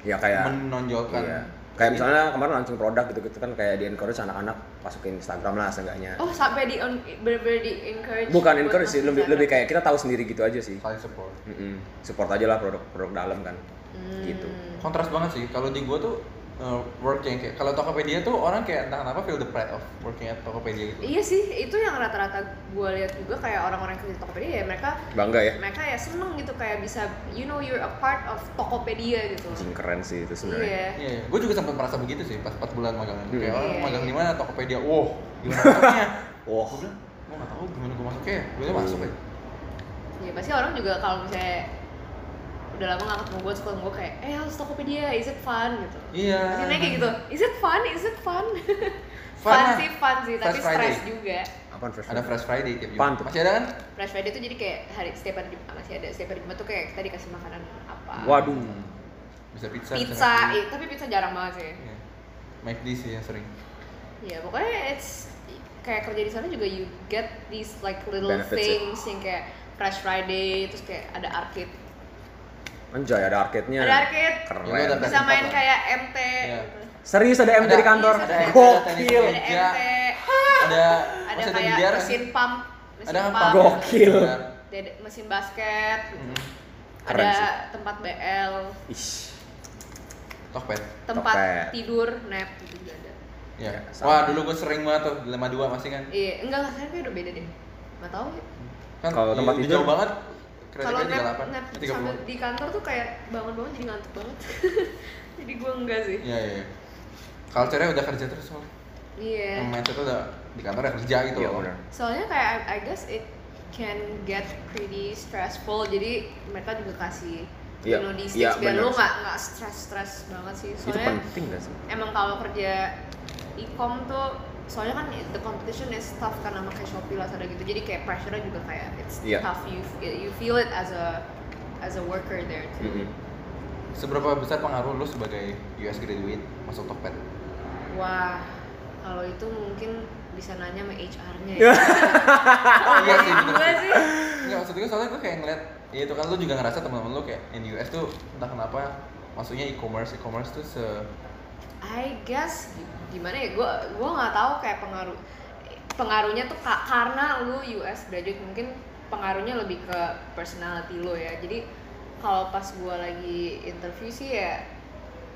[SPEAKER 2] ya kayak
[SPEAKER 1] menonjolkan.
[SPEAKER 2] iya. kayak misalnya kemarin launching produk gitu gitu kan kayak di encourage anak-anak masukin Instagram lah seenggaknya
[SPEAKER 3] oh sampai di on- bener-bener di encourage
[SPEAKER 2] bukan
[SPEAKER 3] buat
[SPEAKER 2] encourage sih
[SPEAKER 3] masuk
[SPEAKER 2] lebih
[SPEAKER 3] Instagram.
[SPEAKER 2] lebih kayak kita tahu sendiri gitu aja sih
[SPEAKER 1] saling support.
[SPEAKER 2] Mm-mm. support aja lah produk-produk dalam kan
[SPEAKER 3] Hmm.
[SPEAKER 2] gitu
[SPEAKER 1] Kontras banget sih, kalau di gue tuh eh, work yang kayak, kalau Tokopedia tuh orang kayak entah kenapa feel the pride of working at Tokopedia gitu.
[SPEAKER 3] Iya sih, itu yang rata-rata gue lihat juga kayak orang-orang yang kerja di Tokopedia ya mereka
[SPEAKER 2] bangga ya
[SPEAKER 3] mereka ya seneng gitu kayak bisa you know you're a part of Tokopedia gitu.
[SPEAKER 2] Anjing, keren sih itu sebenarnya
[SPEAKER 3] Iya.
[SPEAKER 1] Iya, gue juga sempat merasa begitu sih pas 4 bulan magang. Kayak
[SPEAKER 2] Hmm.
[SPEAKER 1] orang
[SPEAKER 3] Iya,
[SPEAKER 1] magang
[SPEAKER 3] iya.
[SPEAKER 1] di mana Tokopedia, wow, gimana masuknya?
[SPEAKER 2] wah
[SPEAKER 1] Gue bilang, gue gak tau gimana gue masuknya ya, gue masuk aja.
[SPEAKER 3] Ya pasti orang juga kalau misalnya udah lama gak ketemu gue suka gue kayak eh harus Tokopedia is it fun gitu.
[SPEAKER 1] Iya.
[SPEAKER 3] Pasti nanya kayak gitu is it fun is it fun.
[SPEAKER 1] Fun
[SPEAKER 3] fun,
[SPEAKER 1] lah.
[SPEAKER 3] sih fun sih
[SPEAKER 1] Fresh
[SPEAKER 3] tapi
[SPEAKER 1] Friday.
[SPEAKER 3] stress juga.
[SPEAKER 2] apaan fresh
[SPEAKER 1] Ada Fresh Friday tiap Jumat.
[SPEAKER 2] Apaan tuh?
[SPEAKER 1] Masih ada kan?
[SPEAKER 3] Fresh Friday tuh jadi kayak hari setiap hari Jumat masih ada setiap hari Jumat tuh kayak kita dikasih makanan apa.
[SPEAKER 2] waduh
[SPEAKER 1] Bisa pizza. bisa
[SPEAKER 3] Pizza,
[SPEAKER 1] nasi.
[SPEAKER 3] eh, tapi pizza jarang banget sih.
[SPEAKER 1] Iya. McD sih yang
[SPEAKER 3] <laughs>
[SPEAKER 1] sering.
[SPEAKER 3] Ya pokoknya it's kayak kerja di sana juga you get these like little
[SPEAKER 2] Benefits, ya.
[SPEAKER 3] things yang kayak Fresh Friday terus kayak ada arcade.
[SPEAKER 2] anjay ada arcade-nya
[SPEAKER 3] Ada arcade.
[SPEAKER 2] keren
[SPEAKER 1] Ya, lu ada-
[SPEAKER 3] Bisa
[SPEAKER 1] Tempat
[SPEAKER 3] main
[SPEAKER 1] lah.
[SPEAKER 3] kayak MT.
[SPEAKER 1] Iya.
[SPEAKER 3] gitu.
[SPEAKER 2] serius ada MT di
[SPEAKER 1] Ada-
[SPEAKER 2] kantor
[SPEAKER 3] Iya, ada-
[SPEAKER 1] Iya,
[SPEAKER 2] gokil
[SPEAKER 3] Ada
[SPEAKER 1] iya.
[SPEAKER 3] MT,
[SPEAKER 1] Ada
[SPEAKER 3] ada
[SPEAKER 1] masih
[SPEAKER 3] kayak
[SPEAKER 1] biliar
[SPEAKER 3] mesin
[SPEAKER 1] sih?
[SPEAKER 3] pump, mesin
[SPEAKER 1] Ada apa?
[SPEAKER 3] pump,
[SPEAKER 2] Gokil.
[SPEAKER 3] dede- mesin basket, gitu.
[SPEAKER 1] Mm.
[SPEAKER 2] Keren
[SPEAKER 3] ada
[SPEAKER 2] sih.
[SPEAKER 3] tempat BL,
[SPEAKER 2] Ish.
[SPEAKER 1] Tokped.
[SPEAKER 3] tempat
[SPEAKER 2] Topet.
[SPEAKER 3] tidur, nap gitu juga ada.
[SPEAKER 1] Ya.
[SPEAKER 2] Ya, sama.
[SPEAKER 1] Wah, dulu gue sering banget tuh di 52 masih kan.
[SPEAKER 3] Iya, enggak lah, sekarang kayak udah beda deh. Enggak tahu ya.
[SPEAKER 1] Kan
[SPEAKER 2] Kalau
[SPEAKER 1] di-
[SPEAKER 2] tempat
[SPEAKER 1] di
[SPEAKER 2] tidur.
[SPEAKER 1] jauh banget.
[SPEAKER 3] kalau
[SPEAKER 1] Kereta
[SPEAKER 3] nap,
[SPEAKER 1] 38.
[SPEAKER 3] nap
[SPEAKER 1] eh,
[SPEAKER 3] sambil
[SPEAKER 1] 30.
[SPEAKER 3] di kantor tuh kayak bangun-bangun jadi ngantuk banget <laughs> jadi gue enggak sih
[SPEAKER 1] Iya, iya. Culture-nya udah kerja terus soalnya.
[SPEAKER 3] iya
[SPEAKER 1] Yeah. Mindset udah di kantor udah kerja gitu.
[SPEAKER 2] Iya
[SPEAKER 1] loh.
[SPEAKER 2] benar.
[SPEAKER 3] soalnya kayak I, I guess it can get pretty stressful jadi mereka juga kasih
[SPEAKER 2] Iya,
[SPEAKER 3] you know these
[SPEAKER 2] iya,
[SPEAKER 3] things biar
[SPEAKER 2] bener.
[SPEAKER 3] lo nggak nggak stress stress banget sih
[SPEAKER 2] Itu
[SPEAKER 3] soalnya
[SPEAKER 2] penting gak sih?
[SPEAKER 3] emang kalau kerja e-com tuh soalnya kan the competition is tough kan sama kayak Shopee Lazada gitu jadi kayak pressure-nya juga kayak it's
[SPEAKER 2] Iya.
[SPEAKER 3] tough you you feel it as a as a worker there
[SPEAKER 2] Hmm.
[SPEAKER 3] too
[SPEAKER 1] Seberapa besar pengaruh lu sebagai US graduate masuk Tokped?
[SPEAKER 3] Wah, kalau itu mungkin bisa nanya sama HR-nya
[SPEAKER 2] <laughs>
[SPEAKER 3] ya.
[SPEAKER 1] Iya sih, bener
[SPEAKER 3] Gue
[SPEAKER 1] sih.
[SPEAKER 3] Ah, sih.
[SPEAKER 1] Enggak, maksud gue soalnya gue kayak ngeliat Ya itu kan lu juga ngerasa teman-teman lu kayak in US tuh entah kenapa Maksudnya e-commerce, e-commerce tuh se
[SPEAKER 3] I guess gimana ya? Gue gua nggak tahu kayak pengaruh pengaruhnya tuh ka- karena lu US graduate mungkin pengaruhnya lebih ke personality lo ya. Jadi kalau pas gua lagi interview sih ya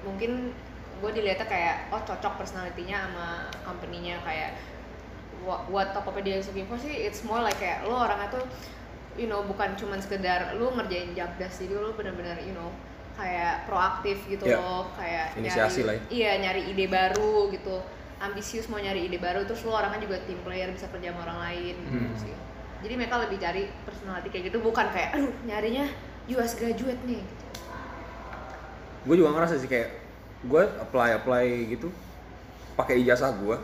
[SPEAKER 3] mungkin gue dilihatnya kayak oh cocok personalitinya sama company-nya kayak what, what Tokopedia is looking for sih it's more like kayak lo orangnya tuh you know bukan cuman sekedar lu ngerjain jobdesk jadi lu bener-bener you know kayak proaktif gitu
[SPEAKER 2] Iya.
[SPEAKER 3] loh kayak
[SPEAKER 2] Inisiasi lah ya.
[SPEAKER 3] nyari, iya nyari ide baru gitu ambisius mau nyari ide baru terus lu orangnya juga team player bisa kerja sama orang lain gitu
[SPEAKER 1] Hmm.
[SPEAKER 3] sih jadi mereka lebih cari personality kayak gitu bukan kayak aduh nyarinya US graduate nih gitu.
[SPEAKER 2] Gue juga ngerasa sih kayak gue apply apply gitu pakai ijazah gue.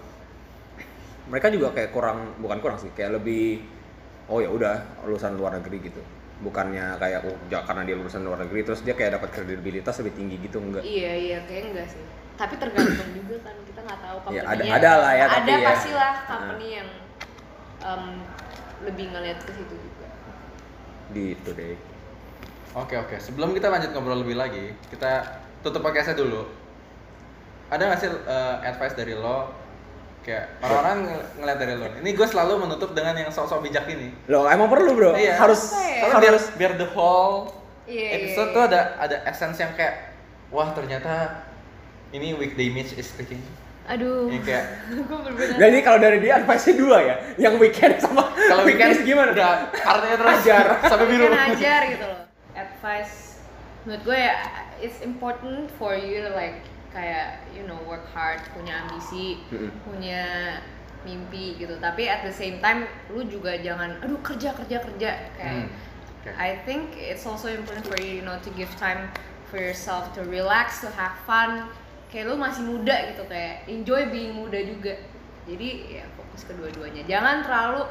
[SPEAKER 2] Mereka juga kayak kurang bukan kurang sih kayak lebih oh ya udah lulusan luar negeri gitu. bukannya kayak oh ja- karena dia lulusan luar negeri terus dia kayak dapat kredibilitas lebih tinggi gitu enggak
[SPEAKER 3] Iya iya kayak enggak sih. Tapi tergantung juga kan kita nggak tahu
[SPEAKER 2] Ya,
[SPEAKER 3] company-nya.
[SPEAKER 2] ada- ada lah ya,
[SPEAKER 3] Ada
[SPEAKER 2] tapi ya.
[SPEAKER 3] pastilah company yang em, lebih ngeliat ke situ juga.
[SPEAKER 2] gitu deh
[SPEAKER 1] Oke oke, sebelum kita lanjut ngobrol lebih lagi, kita tutup podcastnya dulu. Ada nggak sih eh, advice dari lo? Kayak orang-orang ng- ngeliat dari lo. Ini gue selalu menutup dengan yang sok-sok bijak ini.
[SPEAKER 2] loh emang perlu bro
[SPEAKER 1] Iya.
[SPEAKER 2] harus
[SPEAKER 3] Apa ya?
[SPEAKER 1] Soalnya biar,
[SPEAKER 2] harus
[SPEAKER 1] biar the whole
[SPEAKER 3] Iya.
[SPEAKER 1] episode tuh ada ada essence yang kayak, wah ternyata ini weekday Mitch is clicking.
[SPEAKER 3] Aduh.
[SPEAKER 2] Eh.
[SPEAKER 3] <laughs>
[SPEAKER 1] Yang kayak
[SPEAKER 3] gue bener-bener.
[SPEAKER 2] jadi kalau dari dia advice-nya dua ya yang weekend sama
[SPEAKER 1] kalau weekend
[SPEAKER 2] weekdays gimana
[SPEAKER 1] Udah artinya terus
[SPEAKER 2] Ajar.
[SPEAKER 1] sampai biru.
[SPEAKER 3] Kan ajar gitu loh. Advice menurut gue ya it's important for you to like kayak you know work hard, punya ambisi,
[SPEAKER 2] Mm-mm.
[SPEAKER 3] punya mimpi gitu. Tapi at the same time lu juga jangan aduh kerja kerja kerja kayak
[SPEAKER 1] Hmm. Oke.
[SPEAKER 3] I think it's also important for you, you know, to give time for yourself to relax, to have fun. Kayak lu masih muda gitu, kayak enjoy being muda juga. Jadi ya fokus kedua-duanya. Jangan terlalu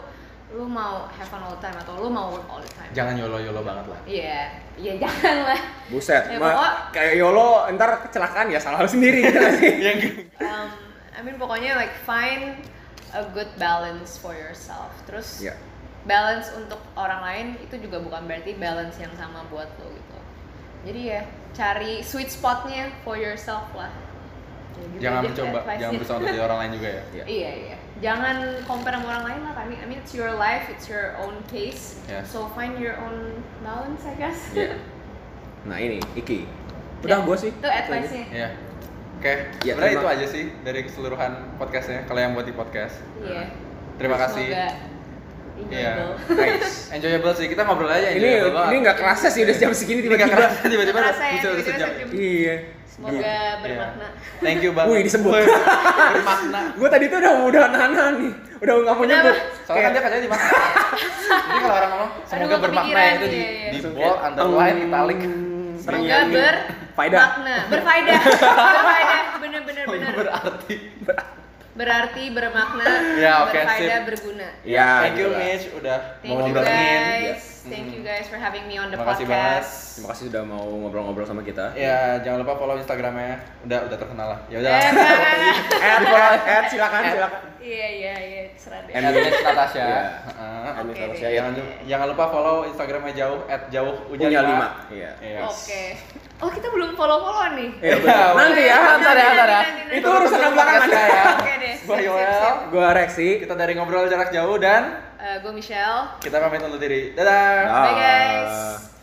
[SPEAKER 3] lu mau have fun all the time atau lu mau work all the time. Iya,
[SPEAKER 1] Jangan yolo yolo banget lah.
[SPEAKER 3] iya <laughs> jangan lah.
[SPEAKER 2] buset
[SPEAKER 3] Ya,
[SPEAKER 2] Ma-
[SPEAKER 3] pokok-
[SPEAKER 2] kayak yolo ntar kecelakaan ya salah lu sendiri gitu
[SPEAKER 1] <laughs>
[SPEAKER 2] nggak sih?
[SPEAKER 1] Yang
[SPEAKER 3] Um, I mean pokoknya like find a good balance for yourself. Terus
[SPEAKER 1] Ya.
[SPEAKER 2] Iya.
[SPEAKER 3] balance untuk orang lain itu juga bukan berarti balance yang sama buat lo gitu. Jadi ya cari sweet spotnya for yourself lah. Ya, gitu
[SPEAKER 1] jangan
[SPEAKER 3] aja
[SPEAKER 1] mencoba,
[SPEAKER 3] advice-nya.
[SPEAKER 1] jangan berusaha untuk jadi orang lain juga ya.
[SPEAKER 3] Iya iya. Jangan compare sama orang lain lah. I mean, I mean it's your life, it's your own case.
[SPEAKER 1] Yes.
[SPEAKER 3] So find your own balance, I guess.
[SPEAKER 2] Iya.
[SPEAKER 1] Ya.
[SPEAKER 2] nah ini Iki udah
[SPEAKER 3] Ya,
[SPEAKER 2] gue sih
[SPEAKER 3] <laughs> Itu advice-nya.
[SPEAKER 1] Iya. Oke,
[SPEAKER 2] Ya,
[SPEAKER 1] sebenarnya
[SPEAKER 2] terima-
[SPEAKER 1] itu aja sih dari keseluruhan podcastnya. Kalau yang buat di podcast,
[SPEAKER 3] Iya.
[SPEAKER 1] terima kasih.
[SPEAKER 3] Semoga
[SPEAKER 1] Iya.
[SPEAKER 3] enjoyable.
[SPEAKER 2] nice
[SPEAKER 1] Enjoyable sih, kita ngobrol aja.
[SPEAKER 2] ini
[SPEAKER 1] enjoyable banget.
[SPEAKER 2] ini nggak kerasa sih udah jam segini
[SPEAKER 1] Ini nggak
[SPEAKER 2] tiba-tiba
[SPEAKER 1] kerasa tiba-tiba
[SPEAKER 3] Nggak kerasa ya,
[SPEAKER 1] bisa udah
[SPEAKER 3] tiba-tiba
[SPEAKER 1] sejam.
[SPEAKER 3] sejam.
[SPEAKER 2] iya
[SPEAKER 3] Semoga
[SPEAKER 1] Iya.
[SPEAKER 3] bermakna.
[SPEAKER 1] Thank you banget.
[SPEAKER 2] Wih, disebut.
[SPEAKER 1] Wih, Bermakna.
[SPEAKER 2] gue tadi tuh udah udah nahan nih udah nggak mau
[SPEAKER 3] Kenapa?
[SPEAKER 2] nyebut
[SPEAKER 1] Soalnya kan dia kerjanya
[SPEAKER 3] <laughs>
[SPEAKER 1] di mana? Jadi kalau orang ngomong semoga
[SPEAKER 3] gua
[SPEAKER 1] bermakna
[SPEAKER 3] kepikiran,
[SPEAKER 1] itu di
[SPEAKER 3] iya, iya.
[SPEAKER 1] di bold, underline, italic.
[SPEAKER 2] Hmm. Iya,
[SPEAKER 1] Iya,
[SPEAKER 3] Semoga ber
[SPEAKER 2] Faedah.
[SPEAKER 3] makna, berfaedah, berfaedah, <laughs> bener-bener
[SPEAKER 1] Semoga
[SPEAKER 3] bener.
[SPEAKER 1] berarti.
[SPEAKER 3] Berarti bermakna,
[SPEAKER 1] Ya, oke,
[SPEAKER 3] berfaedah,
[SPEAKER 1] sip.
[SPEAKER 3] berguna.
[SPEAKER 2] ya
[SPEAKER 1] Thank you
[SPEAKER 2] gitu lah.
[SPEAKER 1] Mitch udah
[SPEAKER 3] Thank
[SPEAKER 1] mau
[SPEAKER 3] you
[SPEAKER 1] ngobrolin.
[SPEAKER 3] guys,
[SPEAKER 1] Ya.
[SPEAKER 3] thank you
[SPEAKER 1] Mm.
[SPEAKER 3] guys for having me on the
[SPEAKER 1] Terima kasih banget.
[SPEAKER 3] podcast.
[SPEAKER 2] terima kasih sudah mau ngobrol-ngobrol sama kita
[SPEAKER 1] Ya, jangan lupa follow Instagramnya. Udah, udah terkenal lah. Ya udah.
[SPEAKER 3] Eh, enggak,
[SPEAKER 1] <laughs>
[SPEAKER 3] enggak, enggak.
[SPEAKER 2] add follow add silakan silakan
[SPEAKER 3] Iya iya iya, serah deh.
[SPEAKER 2] Em-
[SPEAKER 1] At Mitch Natasha.
[SPEAKER 2] Iya.
[SPEAKER 1] Heeh.
[SPEAKER 2] Amin,
[SPEAKER 3] Oke.
[SPEAKER 2] Natasha, ya.
[SPEAKER 1] Jangan, jangan lupa follow Instagramnya jauh at jauh
[SPEAKER 2] punya lima iya
[SPEAKER 1] Iya.
[SPEAKER 3] Oke. Oh kita belum follow follow nih.
[SPEAKER 2] Iya,
[SPEAKER 1] <laughs>
[SPEAKER 2] bener. nanti ya ntar ya ntar ya itu urusan yang belakangan
[SPEAKER 1] Podcast
[SPEAKER 2] ya
[SPEAKER 1] saya.
[SPEAKER 3] Oke deh.
[SPEAKER 1] Gua
[SPEAKER 3] Sip, sip,
[SPEAKER 1] Yoel.
[SPEAKER 3] sip.
[SPEAKER 2] gue Rexi
[SPEAKER 1] Kita dari ngobrol jarak jauh dan
[SPEAKER 3] Eh, gue Michelle.
[SPEAKER 1] kita pamit undur diri. Dadah.
[SPEAKER 2] Ah.
[SPEAKER 3] Bye guys.